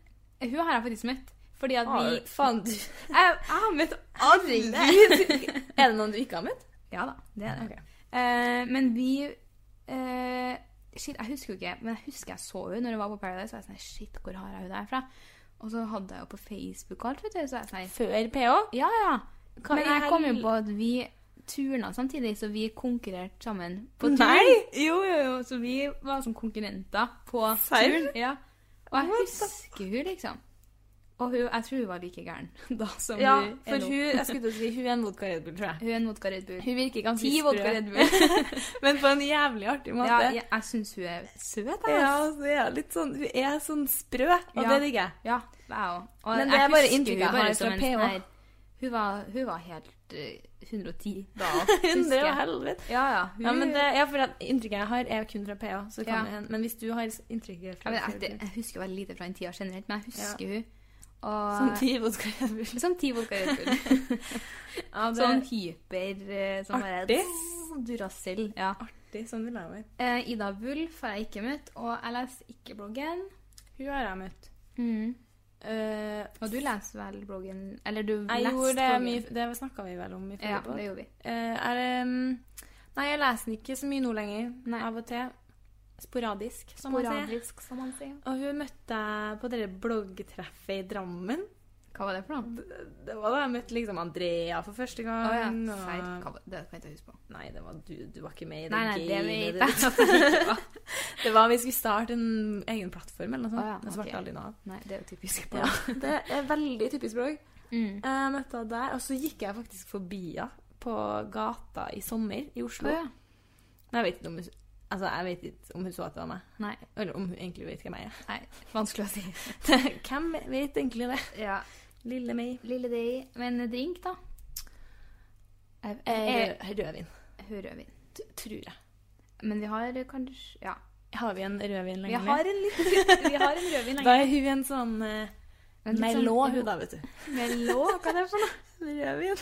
Speaker 3: hun har jeg faktisk møtt. Fordi at vi
Speaker 2: Faen, du
Speaker 3: Jeg, jeg har møtt
Speaker 2: *laughs* Er det noen du ikke har møtt?
Speaker 3: Ja da, det er det.
Speaker 2: Ok.
Speaker 3: Eh, men vi eh, Shit, jeg husker jo ikke, men jeg husker jeg så henne når hun var på Paradise. Og jeg sånn, shit, hvor har jeg henne derfra? Og så hadde jeg jo på Facebook og alt, vet du. Så jeg sånn,
Speaker 2: Før PH?
Speaker 3: ja, ja.
Speaker 2: Hva
Speaker 3: men
Speaker 2: i
Speaker 3: jeg kom jo
Speaker 2: hel-
Speaker 3: på at vi turna samtidig, så vi konkurrerte sammen på tur.
Speaker 2: Nei!
Speaker 3: Jo, jo, jo. Så vi var som konkurrenter på
Speaker 2: Serr?
Speaker 3: turn. Ja. Og jeg
Speaker 2: What the-
Speaker 3: husker hun liksom. Og hun, jeg tror hun var like gæren *laughs* da som
Speaker 2: Ja,
Speaker 3: hun
Speaker 2: for hun, jeg
Speaker 3: *laughs*
Speaker 2: skulle til å si, hun er mot Red Bull, tror jeg.
Speaker 3: Hun er en vodka Red Bull.
Speaker 2: Hun virker ganske
Speaker 3: Ti vodka
Speaker 2: sprø.
Speaker 3: Red
Speaker 2: *laughs*
Speaker 3: Bull.
Speaker 2: Men på en jævlig artig måte.
Speaker 3: ja, jeg, jeg syns hun er søt, jeg.
Speaker 2: Ja, så er jeg litt sånn, hun er sånn sprø, og
Speaker 3: Ja.
Speaker 2: det digger jeg.
Speaker 3: Ja, jeg òg. Og
Speaker 2: Men det er bare
Speaker 3: husker
Speaker 2: inntrykket jeg
Speaker 3: hun
Speaker 2: har
Speaker 3: som
Speaker 2: fra
Speaker 3: en
Speaker 2: PH.
Speaker 3: sånn her- Hun var, hun var helt eh, 110 da.
Speaker 2: *laughs* Hundre og
Speaker 3: husker jeg.
Speaker 2: helvete.
Speaker 3: Ja, ja. Hun,
Speaker 2: Ja, men det, ja, for at inntrykket jeg har, er kun fra PH. Så kan
Speaker 3: Ja.
Speaker 2: det hende. Men hvis du har inntrykket
Speaker 3: Ja,
Speaker 2: fra
Speaker 3: men
Speaker 2: Red
Speaker 3: jeg, det,
Speaker 2: Bull, *laughs*
Speaker 3: jeg husker veldig lite fra den tida generelt, men jeg husker hun.
Speaker 2: Som
Speaker 3: Og,
Speaker 2: sånn ti vodka Red Bull.
Speaker 3: som ti vodka Red *laughs* Bull.
Speaker 2: *laughs* Ja, det
Speaker 3: Sånn hyper eh, sånn
Speaker 2: Artig.
Speaker 3: Bare, Duracell. Ja.
Speaker 2: artig. Sånn vil jeg være.
Speaker 3: Eh, Ida Wulff har jeg ikke møtt, og jeg leser ikke bloggen.
Speaker 2: Hun har jeg møtt.
Speaker 3: Mm.
Speaker 2: Eh,
Speaker 3: Og du leser vel bloggen? Eller du
Speaker 2: jeg
Speaker 3: leste
Speaker 2: gjorde det
Speaker 3: bloggen?
Speaker 2: mye Det snakka vi vel om i forrige
Speaker 3: Ja,
Speaker 2: podd.
Speaker 3: det gjorde vi.
Speaker 2: Eh, er det mm, Nei, jeg leser den ikke så mye nå lenger.
Speaker 3: Nei.
Speaker 2: Av og til. Sporadisk, som man sier.
Speaker 3: Sporadisk, som man sier.
Speaker 2: Og hun møtte jeg på det bloggtreffet i Drammen.
Speaker 3: Hva var det for noe?
Speaker 2: Det, det var da jeg møtte liksom Andrea for første
Speaker 3: Å
Speaker 2: gang.
Speaker 3: ja,
Speaker 2: og-
Speaker 3: feil. Hva var- Det kan jeg ikke huske på.
Speaker 2: Nei, det var du, du var ikke med i det liksom.
Speaker 3: Nei, nei, det
Speaker 2: gamet
Speaker 3: vet
Speaker 2: ditt.
Speaker 3: jeg at jeg ikke var.
Speaker 2: *laughs* Det var vi skulle starte en egen plattform eller noe sånt.
Speaker 3: Å ja,
Speaker 2: Men så ble
Speaker 3: ok.
Speaker 2: det aldri noe av.
Speaker 3: Nei, det er jo typisk.
Speaker 2: Ja, *laughs* det er veldig typisk blogg.
Speaker 3: Mm.
Speaker 2: Jeg møtte henne der, og så gikk jeg faktisk forbi henne på gata i sommer i Oslo.
Speaker 3: Å ja.
Speaker 2: Men jeg vet ikke om hun, altså, jeg vet ikke om hun så at det var meg.
Speaker 3: Nei,
Speaker 2: Eller om hun egentlig vet hvem jeg er.
Speaker 3: nei, vanskelig å si.
Speaker 2: *laughs* hvem vet egentlig det?
Speaker 3: Ja,
Speaker 2: Lille meg.
Speaker 3: Lille Day. Men drink, da? Jeg, jeg,
Speaker 2: Eh, rødvin,
Speaker 3: jeg hører rødvin.
Speaker 2: t- tror jeg.
Speaker 3: Men vi har kanskje Ja.
Speaker 2: Har vi en rødvin
Speaker 3: Vi
Speaker 2: lenger?
Speaker 3: har en liten Vi har en
Speaker 2: *laughs*
Speaker 3: rødvin
Speaker 2: Da er hun en sånn eh,
Speaker 3: Men litt
Speaker 2: Merlot,
Speaker 3: sånn-
Speaker 2: hun da, vet du.
Speaker 3: Merlot? Hva er det
Speaker 2: *laughs*
Speaker 3: for noe?
Speaker 2: Rødvin.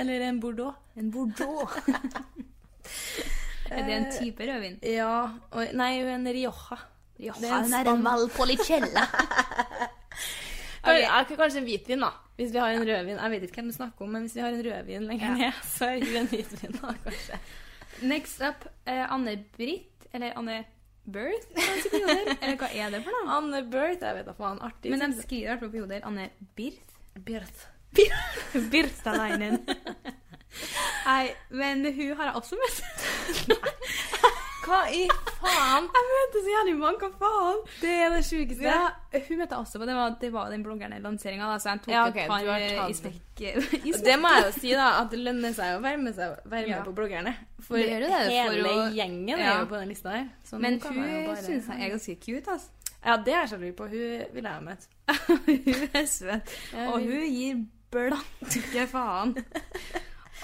Speaker 2: Eller en bordeaux.
Speaker 3: En bordeaux.
Speaker 2: *laughs*
Speaker 3: er Eh, det en type rødvin?
Speaker 2: Ja, og, nei, hun er en rioja. det er en spansk- *laughs*
Speaker 3: valpolicella.
Speaker 2: Kan- jeg kan Kanskje en hvitvin, da. Hvis vi har en rødvin. Jeg vet ikke hvem du snakker om, men hvis vi har en rødvin lenger
Speaker 3: Ja.
Speaker 2: ned, så er hun en hvitvin, da, kanskje.
Speaker 3: Next up eh, Anne-Britt, eller Anne Birth, kanskje på
Speaker 2: *laughs*
Speaker 3: Joder? Eller hva er det for noe?
Speaker 2: Anne Birth, jeg vet da faen. Artig.
Speaker 3: Men de skriver i hvert fall på Joder Anne Birth.
Speaker 2: Birth. *laughs*
Speaker 3: Birthaleinen. *laughs* Nei, men hun har jeg også møtt.
Speaker 2: Hva i faen?
Speaker 3: Jeg møter så jævlig mange, hva faen?
Speaker 2: Det er det sjukeste.
Speaker 3: Ja, hun møtte jeg også på. Det var, det var den bloggeren i lanseringa, da, så jeg tok
Speaker 2: Ja, ok,
Speaker 3: et
Speaker 2: du har
Speaker 3: par eh,
Speaker 2: tatt
Speaker 3: *laughs* i smekk. i
Speaker 2: Og Det må
Speaker 3: *laughs*
Speaker 2: jeg jo si, da, at det lønner seg å være med, seg, være med
Speaker 3: Ja.
Speaker 2: på bloggerne. For
Speaker 3: Det gjør jo det, for
Speaker 2: hele
Speaker 3: å-
Speaker 2: gjengen er
Speaker 3: Ja.
Speaker 2: jo på den lista her. Så nå
Speaker 3: Men
Speaker 2: kan
Speaker 3: hun
Speaker 2: jeg jo bare-
Speaker 3: syns jeg er ganske cute, altså.
Speaker 2: Ja, det er jeg sjalu på. Hun ville jeg ha *laughs* møtt.
Speaker 3: hun er søt.
Speaker 2: Ja,
Speaker 3: Og
Speaker 2: vi-
Speaker 3: hun gir
Speaker 2: *laughs*
Speaker 3: blanke faen.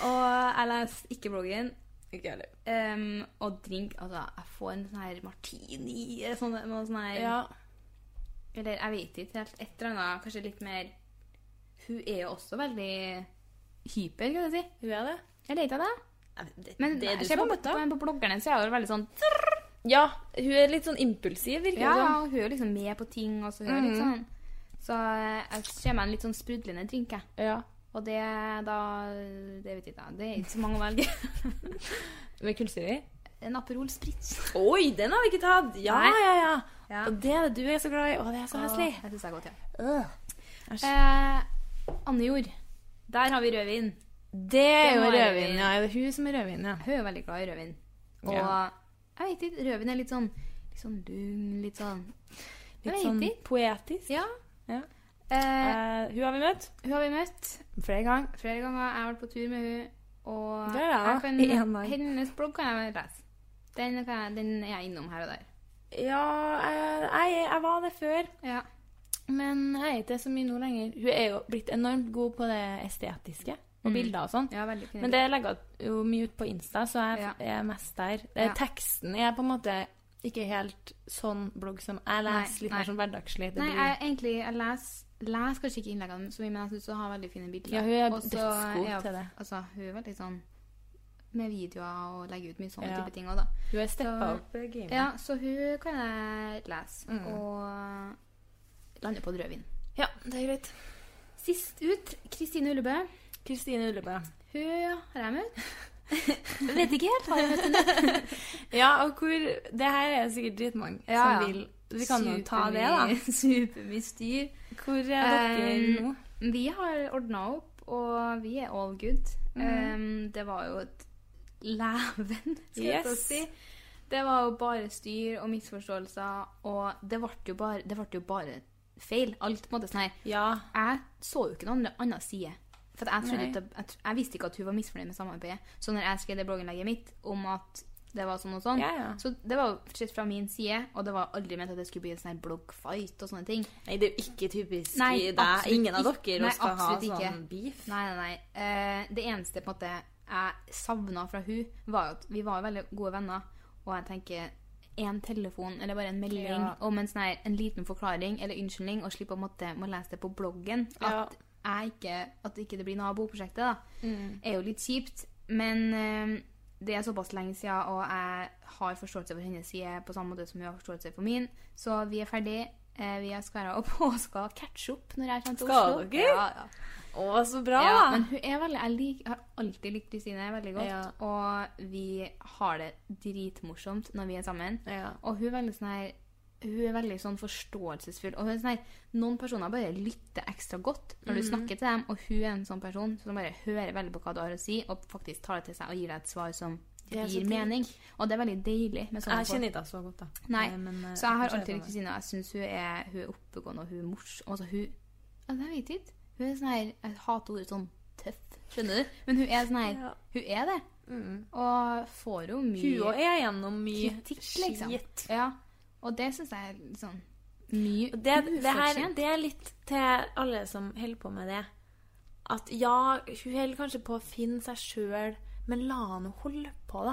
Speaker 3: Og jeg leser ikke bloggen.
Speaker 2: Ikke jeg heller.
Speaker 3: Ehm, og drink Altså, jeg får en sånn her martini eller sånn, noe sånn her
Speaker 2: Ja.
Speaker 3: Eller jeg vet ikke helt. Et eller annet kanskje litt mer Hun er jo også veldig hyper, skal jeg si.
Speaker 2: Hun er det.
Speaker 3: Eller ikke det?
Speaker 2: Jeg vet- Det,
Speaker 3: Men
Speaker 2: det er du
Speaker 3: se
Speaker 2: som
Speaker 3: på,
Speaker 2: har møtt
Speaker 3: på,
Speaker 2: henne.
Speaker 3: på bloggerne så er hun veldig sånn
Speaker 2: Ja, hun er litt sånn impulsiv, virker det
Speaker 3: Ja,
Speaker 2: som.
Speaker 3: og hun er liksom med på ting, og så hun er
Speaker 2: Mm.
Speaker 3: litt sånn Så eh, jeg ser meg en litt sånn sprudlende drink, jeg.
Speaker 2: Ja.
Speaker 3: Og det da Det vet jeg ikke, det er ikke så mange å velge.
Speaker 2: *laughs* Med kullsyre?
Speaker 3: En Aperol Spritz.
Speaker 2: Oi, den har vi ikke tatt! Ja,
Speaker 3: Nei.
Speaker 2: ja, ja.
Speaker 3: Ja.
Speaker 2: Og det er det du er så glad i. Å, det er så heslig.
Speaker 3: Det syns jeg er godt, ja.
Speaker 2: Øh. Æsj.
Speaker 3: Eh, Annejord. Der har vi rødvin.
Speaker 2: Det er jo
Speaker 3: må være
Speaker 2: rødvin. Ja, det er hun som er rødvin, ja.
Speaker 3: Hun er jo veldig glad i rødvin. Og
Speaker 2: Ja.
Speaker 3: jeg vet ikke, rødvin er litt sånn Litt sånn lugn, litt sånn Jeg
Speaker 2: Litt
Speaker 3: vet
Speaker 2: sånn
Speaker 3: ikke.
Speaker 2: poetisk.
Speaker 3: Ja.
Speaker 2: Ja.
Speaker 3: Eh,
Speaker 2: Eh, hun har vi møtt
Speaker 3: hun har vi møtt
Speaker 2: flere ganger.
Speaker 3: flere ganger. Jeg har vært på tur med hun Og
Speaker 2: Det har jeg
Speaker 3: kan,
Speaker 2: også, i en dag.
Speaker 3: hennes blogg kan jeg lese. Den, kan jeg, den er jeg innom her og der.
Speaker 2: Ja, eh, jeg, jeg var det før,
Speaker 3: Ja.
Speaker 2: men jeg er ikke så mye nå lenger. Hun er jo blitt enormt god på det estetiske og bilder og sånn.
Speaker 3: ja veldig fin.
Speaker 2: Men det legger jeg jo mye ut på Insta, så jeg
Speaker 3: Ja.
Speaker 2: er mest der. Eh,
Speaker 3: Ja.
Speaker 2: Teksten er på en måte ikke helt sånn blogg som jeg leser,
Speaker 3: Nei,
Speaker 2: litt
Speaker 3: nei.
Speaker 2: mer sånn hverdagslig. Det
Speaker 3: Nei,
Speaker 2: blir-
Speaker 3: jeg, egentlig, jeg leser les kanskje ikke innleggene så mye, men jeg syns hun har veldig fine bilder.
Speaker 2: Ja, hun er
Speaker 3: Og så
Speaker 2: dødsgod
Speaker 3: er hun-
Speaker 2: til det.
Speaker 3: Altså, hun er veldig sånn med videoer og legger ut mye sånne
Speaker 2: Ja.
Speaker 3: type ting òg, da.
Speaker 2: Hun har steppa
Speaker 3: Så-
Speaker 2: opp eh, gamet.
Speaker 3: Ja, så hun kan jeg lese.
Speaker 2: Mm.
Speaker 3: Og lande på drøvin.
Speaker 2: Ja, det er greit.
Speaker 3: Sist ut, Kristine Ullebø.
Speaker 2: Kristine Ullebø.
Speaker 3: Hun har jeg
Speaker 2: *laughs*
Speaker 3: møtt. Jeg Vet ikke helt. Har jeg møtt henne?
Speaker 2: Ja, og hvor Det her er sikkert dritmange
Speaker 3: Ja, ja.
Speaker 2: som vil Vi kan jo ta det, da.
Speaker 3: Supermye- *laughs* Supermye styr.
Speaker 2: Hvor er dere
Speaker 3: Eh,
Speaker 2: nå?
Speaker 3: Vi har ordna opp, og vi er all good.
Speaker 2: Mhm.
Speaker 3: Um, det var jo et leven, *laughs* skal jeg til
Speaker 2: Yes.
Speaker 3: å si. Det var jo bare styr og misforståelser, og det ble jo bare, det ble jo bare feil. Alt på en måte sånn her.
Speaker 5: Ja.
Speaker 3: Jeg så jo ikke noen andre annen side. For at jeg, trodde
Speaker 5: Nei.
Speaker 3: at det- jeg, tr- jeg visste ikke at hun var misfornøyd med samarbeidet. Så når jeg skrev det blogginnlegget mitt om at det var sånn og sånn,
Speaker 5: Ja, ja.
Speaker 3: så det var jo sett fra min side, og det var aldri ment at det skulle bli en sånn her bloggfight og sånne ting.
Speaker 2: Nei, det er jo ikke typisk
Speaker 3: Nei,
Speaker 2: deg.
Speaker 3: absolutt
Speaker 2: Ingen av
Speaker 3: ikke.
Speaker 2: dere
Speaker 3: Nei,
Speaker 2: skal ha
Speaker 3: absolutt
Speaker 2: sånn
Speaker 3: ikke.
Speaker 2: beef.
Speaker 3: Nei, nei, nei. Eh, det eneste på en måte jeg savna fra hun, var jo at vi var jo veldig gode venner. Og jeg tenker en telefon eller bare en melding
Speaker 5: Ja.
Speaker 3: om en, sånn her, en liten forklaring eller unnskyldning, og slippe å måtte må lese det på bloggen.
Speaker 5: Ja.
Speaker 3: At, jeg ikke, at ikke det blir naboprosjektet, da. er jo litt kjipt. Men eh, det er såpass lenge siden, og jeg har forståelse for hennes side på samme måte som hun har forståelse for min. Så vi er ferdig. Eh, vi har skværa opp og skal catche opp når jeg kommer til
Speaker 2: Skal
Speaker 3: Oslo.
Speaker 2: dere?
Speaker 3: Ja, ja.
Speaker 2: Å, så bra!
Speaker 3: Ja, men hun er veldig, jeg lik, har alltid likt Kristine veldig godt.
Speaker 2: Ja.
Speaker 3: Og vi har det dritmorsomt når vi er sammen.
Speaker 5: Ja.
Speaker 3: Og hun er veldig sånn her hun er veldig sånn forståelsesfull. og hun er sånn her, Noen personer bare lytter ekstra godt når
Speaker 2: Mhm.
Speaker 3: du snakker til dem, og hun er en sånn person som bare hører veldig på hva du har å si, og faktisk tar det til seg og gir deg et svar som
Speaker 2: Det er så
Speaker 3: gir
Speaker 2: digg.
Speaker 3: mening. Og det er veldig deilig. med sånne
Speaker 2: Jeg
Speaker 3: folk.
Speaker 2: kjenner ikke henne så godt, da.
Speaker 3: Nei,
Speaker 2: Eh, men, eh,
Speaker 3: Så jeg har
Speaker 2: kanskje
Speaker 3: alltid
Speaker 2: jeg
Speaker 3: likt Kristine. og Jeg syns hun, er- hun er oppegående og hun er morsom. Altså, hun altså, Jeg vet ikke. Hun er sånn her Jeg hater ordet sånn tøff, skjønner du? Men hun er sånn her
Speaker 2: Ja. Mm.
Speaker 3: Hun er det. Og får jo mye
Speaker 2: Hun òg er gjennom mye
Speaker 3: kritikk, liksom.
Speaker 2: skit.
Speaker 3: Ja. Og det syns jeg er litt sånn mye
Speaker 2: Det, det, her,
Speaker 3: ufortjent.
Speaker 2: det er litt til alle som holder på med det. At ja, hun holder kanskje på å finne seg sjøl, men la henne holde på, da.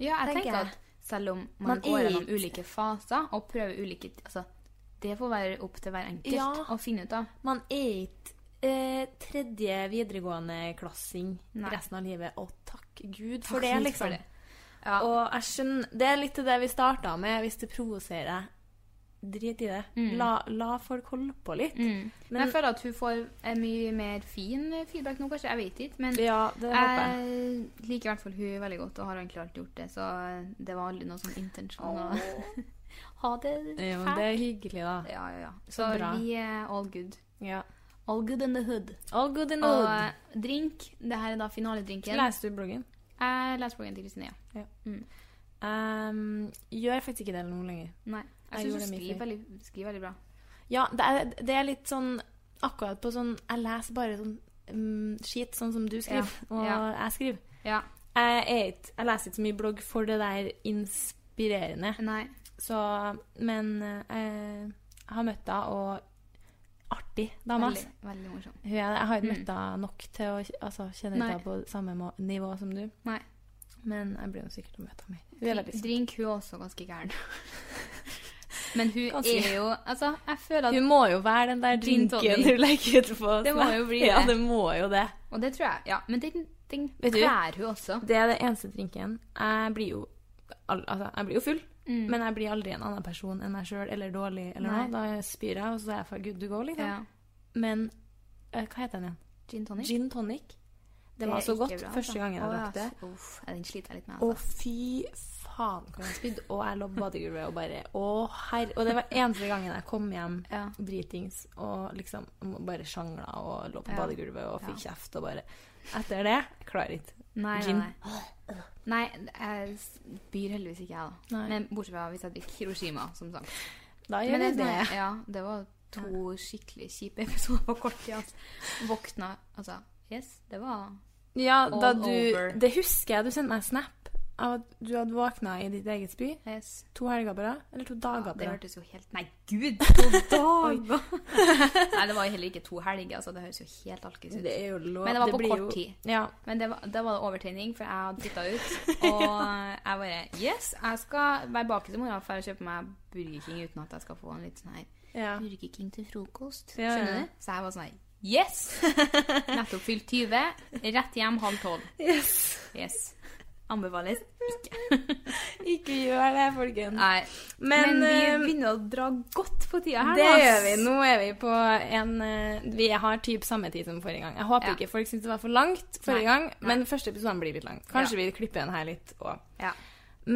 Speaker 3: Ja, jeg
Speaker 2: tenker
Speaker 3: tenker
Speaker 2: jeg.
Speaker 3: at selv om man,
Speaker 2: Man
Speaker 3: går
Speaker 2: er
Speaker 3: gjennom
Speaker 2: ikke-
Speaker 3: ulike faser og prøver ulike altså, Det får være opp til hver enkelt
Speaker 2: Ja.
Speaker 3: å finne ut av.
Speaker 2: Man er ikke eh, tredje videregående-klassing
Speaker 3: Nei.
Speaker 2: resten av livet, og takk Gud
Speaker 3: Takk
Speaker 2: for det,
Speaker 3: Gud for
Speaker 2: liksom.
Speaker 3: det. Ja.
Speaker 2: Og jeg skjønner, det er litt til det vi starta med. Hvis det provoserer deg, drit i det. La, la folk holde på litt.
Speaker 3: Men, Mm. jeg føler at hun får eh, mye mer fin feedback nå, kanskje. Jeg vet ikke. Men
Speaker 2: Ja, det håper jeg.
Speaker 3: Jeg liker i hvert fall hun veldig godt, og har egentlig alltid gjort det. Så det var aldri noe sånn intensjon å *laughs* ha det
Speaker 2: Jo,
Speaker 3: Eh, fælt.
Speaker 2: det er hyggelig, da.
Speaker 3: Ja, ja, ja. Så,
Speaker 2: Så bra.
Speaker 3: vi er all good.
Speaker 2: Ja.
Speaker 3: All good in the hood.
Speaker 2: All good in all.
Speaker 3: Og eh, drink. Det her er da finaledrinken.
Speaker 2: Leser du bloggen?
Speaker 3: Jeg leser bloggen til Kristine, ja.
Speaker 2: Ehm, gjør faktisk ikke det nå lenger.
Speaker 3: Nei.
Speaker 2: Jeg
Speaker 3: Jeg syns
Speaker 2: gjorde
Speaker 3: hun
Speaker 2: mye
Speaker 3: skriver
Speaker 2: feil.
Speaker 3: veldig, skriver veldig bra.
Speaker 2: Ja, det er, det er litt sånn akkurat på sånn Jeg leser bare sånn mm, skit, sånn som du skriver,
Speaker 3: Ja,
Speaker 2: og
Speaker 3: ja.
Speaker 2: jeg skriver.
Speaker 3: Ja.
Speaker 2: Jeg, er ikke, jeg leser ikke så mye blogg for det der inspirerende,
Speaker 3: Nei.
Speaker 2: så Men eh, jeg har møtt henne, og artig dame,
Speaker 3: Veldig,
Speaker 2: ass.
Speaker 3: veldig morsom.
Speaker 2: Hun er- Jeg har ikke
Speaker 3: Mm.
Speaker 2: møtt henne nok til å kj- altså, kjenne
Speaker 3: Nei.
Speaker 2: henne på samme må- nivå som du,
Speaker 3: Nei.
Speaker 2: men jeg blir jo sikkert å møte henne mer. Hun er veldig søt.
Speaker 3: Drink, hun er også ganske
Speaker 2: *laughs*
Speaker 3: gæren. Men hun
Speaker 2: Ganske.
Speaker 3: er jo Altså, jeg føler at
Speaker 2: Hun må jo være den der
Speaker 3: Gin
Speaker 2: drinken
Speaker 3: tonic.
Speaker 2: hun legger ut på.
Speaker 3: Det må jo bli
Speaker 2: Ja,
Speaker 3: det.
Speaker 2: det må jo det.
Speaker 3: Og det tror jeg. Ja. Men den, den
Speaker 2: Vet du?
Speaker 3: klær hun også.
Speaker 2: Det er den eneste drinken. Jeg blir jo, al altså, jeg blir jo full, men jeg blir aldri en annen person enn meg sjøl eller dårlig eller
Speaker 3: Mm. Nei.
Speaker 2: noe. Da spyr jeg, og så er jeg for good to go, liksom.
Speaker 3: Ja.
Speaker 2: Men eh, hva heter den igjen?
Speaker 3: Gin tonic.
Speaker 2: Gin tonic. Det,
Speaker 3: er
Speaker 2: var så
Speaker 3: ikke
Speaker 2: godt
Speaker 3: bra,
Speaker 2: første
Speaker 3: altså.
Speaker 2: gangen jeg
Speaker 3: Å,
Speaker 2: drakk det.
Speaker 3: ja, Uff, ja, den sliter jeg litt med.
Speaker 2: Å,
Speaker 3: Altså.
Speaker 2: fy faen, hvor jeg spydde. Og jeg lå på badegulvet og bare Å, herre Og det var eneste gangen jeg kom hjem
Speaker 3: Ja.
Speaker 2: dritings og liksom bare sjangla og lå på
Speaker 3: Ja.
Speaker 2: badegulvet og fikk kjeft og bare Etter det klarer jeg ikke.
Speaker 3: Nei,
Speaker 2: gin.
Speaker 3: nei, nei. Nei, jeg s- byr heldigvis ikke, jeg, da.
Speaker 2: Nei.
Speaker 3: Men bortsett fra hvis jeg drikker Hiroshima, som sagt.
Speaker 2: Da
Speaker 3: Men
Speaker 2: gjør jeg
Speaker 3: det,
Speaker 2: det.
Speaker 3: Ja, det var to skikkelig kjipe *laughs* episoder på kort tid. Altså. Våkna Altså, yes, det var
Speaker 2: Ja, da
Speaker 3: All over.
Speaker 2: du Det husker jeg du sendte meg en snap av at du hadde våkna i ditt eget spy
Speaker 3: yes.
Speaker 2: to helger på rad. Eller to dager på
Speaker 3: Det
Speaker 2: rad.
Speaker 3: hørtes jo helt Nei, gud!
Speaker 2: *laughs*
Speaker 3: To dager! Nei, det var jo heller ikke to helger. Altså, det høres jo helt alkis ut.
Speaker 2: er jo lov.
Speaker 3: Men det var på
Speaker 2: blir
Speaker 3: kort tid.
Speaker 2: Ja.
Speaker 3: Men det var, da var det overtenning, for jeg hadde flytta ut. Og eh, jeg bare Yes, jeg skal være bak i morgen for å kjøpe meg Burger King uten at jeg skal få en litt sånn her
Speaker 2: ja.
Speaker 3: Burger King til frokost.
Speaker 2: Ja, ja.
Speaker 3: Skjønner du? Så jeg var sånn her Yes! Nettopp fylt 20. Rett hjem halv tolv.
Speaker 2: Yes.
Speaker 3: Yes. Anbefales ikke.
Speaker 2: Ikke gjør det, folkens.
Speaker 3: Nei.
Speaker 2: Men,
Speaker 3: Men, vi
Speaker 2: eh,
Speaker 3: begynner å dra godt på tida her.
Speaker 2: Det
Speaker 3: nå,
Speaker 2: gjør
Speaker 3: ass.
Speaker 2: vi. Nå er vi på en eh, Vi har typ samme tid som forrige gang. Jeg håper
Speaker 3: Ja.
Speaker 2: ikke folk syns det var for langt forrige
Speaker 3: Nei,
Speaker 2: gang, men første episoden blir litt lang. Kanskje vi klipper den her litt òg.
Speaker 3: Ja.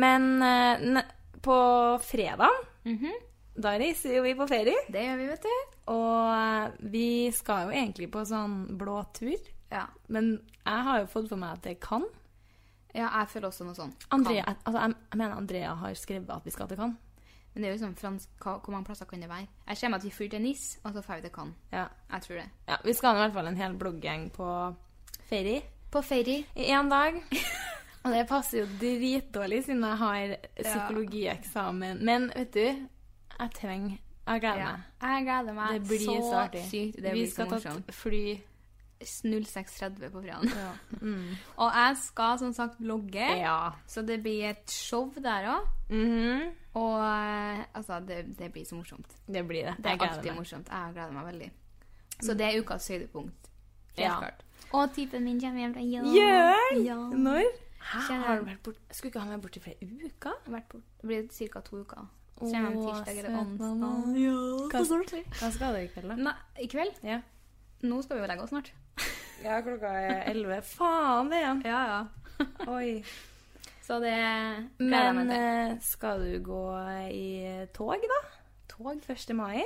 Speaker 2: Men eh, ne på fredag
Speaker 3: Mhm.
Speaker 2: Da reiser jo vi på ferie,
Speaker 3: Det gjør vi, vet du.
Speaker 2: og vi skal jo egentlig på sånn blå tur.
Speaker 3: Ja.
Speaker 2: Men jeg har jo fått for meg at det kan.
Speaker 3: ja, jeg føler også noe sånn.
Speaker 2: Andrea, altså jeg, jeg mener Andrea har skrevet at vi skal til Cannes.
Speaker 3: Men det er jo sånn fransk hva, Hvor mange plasser kan det være? Jeg ser meg at vi fyrer til Nice, og så drar vi til Cannes.
Speaker 2: Ja.
Speaker 3: Jeg tror det.
Speaker 2: ja. Vi skal i hvert fall en hel blogggjeng på ferie
Speaker 3: På ferie.
Speaker 2: i én dag. *laughs* Og det passer jo dritdårlig siden jeg har psykologieksamen. Men vet du, jeg trenger Jeg gleder
Speaker 3: Ja.
Speaker 2: meg.
Speaker 3: Jeg gleder meg
Speaker 2: Det blir så, artig.
Speaker 3: sykt. Det
Speaker 2: vi
Speaker 3: blir så
Speaker 2: skal ta
Speaker 3: morsomt.
Speaker 2: et fly.
Speaker 3: 06.30 på fredag.
Speaker 2: Ja.
Speaker 3: Mm. *laughs* Og jeg skal som sagt blogge, så det blir et show der òg. Mm-hmm.
Speaker 2: Mhm.
Speaker 3: Og eh, altså, det, det blir så morsomt.
Speaker 2: Det blir det.
Speaker 3: Det
Speaker 2: Jeg
Speaker 3: er
Speaker 2: gleder
Speaker 3: alltid
Speaker 2: meg.
Speaker 3: morsomt. Jeg gleder meg veldig. Så det er ukas høydepunkt. Helt
Speaker 2: Ja.
Speaker 3: klart. Og typen min kommer hjem fra jobb.
Speaker 2: Gjør?
Speaker 3: Ja.
Speaker 2: Når? Hæ,
Speaker 3: Kjenner-
Speaker 2: har du vært bort... Skulle ikke han vært borte i flere uker?
Speaker 3: Vært bort. Det blir ca. to uker. Så kommer han tirsdag eller onsdag.
Speaker 2: onsdag. Hva, hva skal dere i kveld, da?
Speaker 3: Nei, I kveld?
Speaker 2: Ja.
Speaker 3: Nå skal vi jo legge oss snart.
Speaker 2: Ja, klokka er elleve. Faen, det igjen.
Speaker 3: Ja, ja.
Speaker 2: Oi.
Speaker 3: Så det gleder jeg
Speaker 2: Men
Speaker 3: meg til.
Speaker 2: eh, skal du gå i tog, da? Tog 1. mai?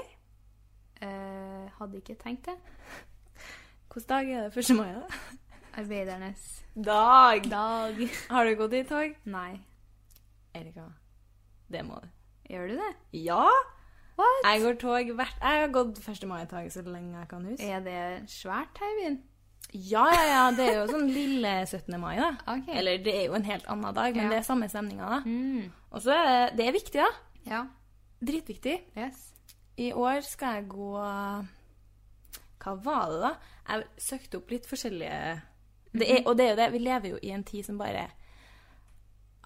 Speaker 3: Eh, hadde ikke tenkt det.
Speaker 2: Hvilken dag er det 1. mai? da?
Speaker 3: Arbeidernes
Speaker 2: Dag!
Speaker 3: *laughs* dag.
Speaker 2: Har du gått i tog?
Speaker 3: Nei.
Speaker 2: Erika, det må du.
Speaker 3: Gjør du det?
Speaker 2: Ja!
Speaker 3: What?
Speaker 2: Jeg går tog hvert Jeg har gått 1. mai-tog så lenge jeg kan huske.
Speaker 3: Er det svært her i byen?
Speaker 2: Ja, ja, ja. Det er jo sånn lille 17. mai, da.
Speaker 3: Ok.
Speaker 2: Eller det er jo en helt annen dag, men
Speaker 3: Ja.
Speaker 2: det er samme stemninga, da.
Speaker 3: Mm.
Speaker 2: Og så er det- det er viktig, da.
Speaker 3: Ja.
Speaker 2: Dritviktig.
Speaker 3: Yes.
Speaker 2: I år skal jeg gå Hva var det, da? Jeg søkte opp litt forskjellige det
Speaker 3: Mhm.
Speaker 2: er, Og det er jo det, vi lever jo i en tid som bare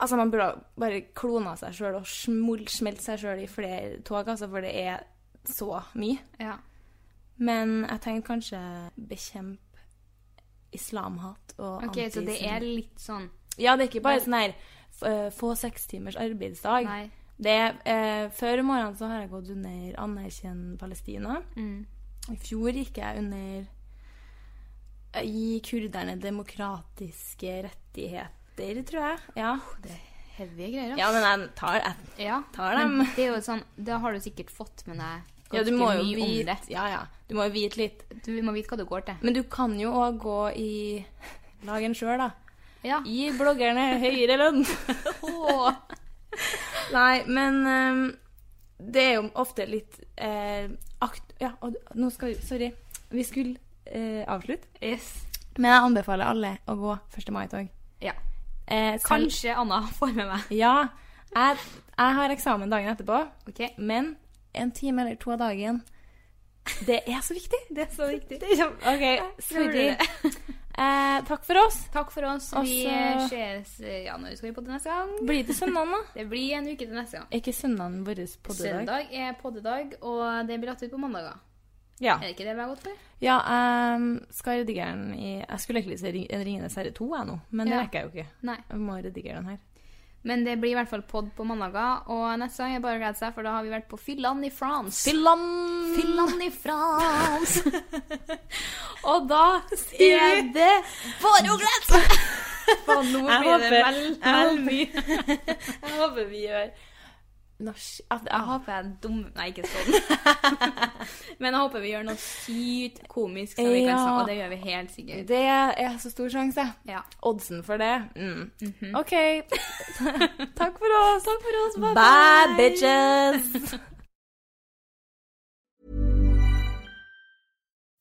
Speaker 2: Altså, man burde ha bare klona seg sjøl og smol- smelt seg sjøl i flere tog, altså, for det er så mye.
Speaker 3: Ja.
Speaker 2: Men jeg tenkte kanskje bekjempe islamhat og
Speaker 3: Ok, så det er
Speaker 2: antisemittisme.
Speaker 3: litt sånn
Speaker 2: Ja, det er ikke bare sånn her f- eh, få seks timers arbeidsdag.
Speaker 3: Nei.
Speaker 2: Det, eh, før i morgenen så har jeg gått under Anerkjenn Palestina.
Speaker 3: Mm.
Speaker 2: I fjor gikk jeg under eh, Gi kurderne demokratiske rettigheter, tror jeg. Ja,
Speaker 3: Heavy greier,
Speaker 2: ja men jeg tar, jeg
Speaker 3: Ja.
Speaker 2: tar dem.
Speaker 3: Men det er jo sånn Da har du sikkert fått med deg
Speaker 2: ja, du må jo
Speaker 3: mye om
Speaker 2: vite,
Speaker 3: det.
Speaker 2: ja, ja. Du må jo vite litt.
Speaker 3: Du må vite hva du går til.
Speaker 2: Men du kan jo òg gå i *laughs* Lag en sjøl, da.
Speaker 3: Ja.
Speaker 2: Gi bloggerne høyere lønn.
Speaker 3: *laughs* Åh.
Speaker 2: Nei, men ehm, det er jo ofte litt eh, akt... Ja, og nå skal vi Sorry. Vi skulle eh, avslutte.
Speaker 3: Yes.
Speaker 2: Men jeg anbefaler alle å gå 1. mai-tog.
Speaker 3: Ja.
Speaker 2: Eh, selv-
Speaker 3: Kanskje Anna får med meg.
Speaker 2: Ja. Jeg, jeg har eksamen dagen etterpå,
Speaker 3: Ok.
Speaker 2: men en time eller to av dagen Det er så viktig! Det er så
Speaker 3: *laughs*
Speaker 2: viktig. OK, sorry. *laughs*
Speaker 3: det.
Speaker 2: Eh, takk for oss.
Speaker 3: Takk for oss.
Speaker 2: Og
Speaker 3: Vi
Speaker 2: så-
Speaker 3: ses eh, Ja, når skal vi podde neste gang?
Speaker 2: Blir det søndagen, da?
Speaker 3: Det blir en uke til neste gang.
Speaker 2: Er ikke søndagen vår poddedag?
Speaker 3: Søndag er poddedag, og det blir lagt ut på mandager.
Speaker 2: Ja.
Speaker 3: Er det ikke det vi har gått for?
Speaker 2: ja ehm, skal redigere den i Jeg skulle egentlig si Ring- Ringenes herre 2, jeg nå, men det
Speaker 3: Ja.
Speaker 2: rekker jeg jo ikke.
Speaker 3: Nei.
Speaker 2: Jeg må redigere den her.
Speaker 3: Men det blir i hvert fall pod på mandager, og neste gang er bare å glede seg, for da har vi vært på Fyllan i France.
Speaker 2: Fillan!
Speaker 3: Fyllan i France! *laughs* og da
Speaker 2: Sier
Speaker 3: er det bare å glede seg! Og nå
Speaker 2: Jeg
Speaker 3: blir det
Speaker 2: håper-
Speaker 3: vel,
Speaker 2: jeg
Speaker 3: vel
Speaker 2: håper-
Speaker 3: *laughs* mye.
Speaker 2: Jeg håper vi gjør norsk at,
Speaker 3: Jeg
Speaker 2: ah,
Speaker 3: håper jeg er dum Nei, ikke sånn. *laughs* Men jeg håper vi gjør noe sykt komisk, som vi kan
Speaker 2: Ja.
Speaker 3: sa, og det gjør vi helt sikkert.
Speaker 2: Det er så stor sjanse.
Speaker 3: Ja.
Speaker 2: Oddsen for det. Mm. OK. *laughs* Takk for oss. Takk for oss. Bye,
Speaker 3: Bye,
Speaker 2: bitches.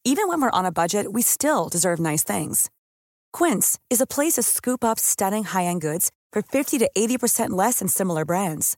Speaker 4: Even when we're on a budget, we still deserve nice things. Quince is a place to scoop up stunning high-end goods for 50 to 80% less than similar brands.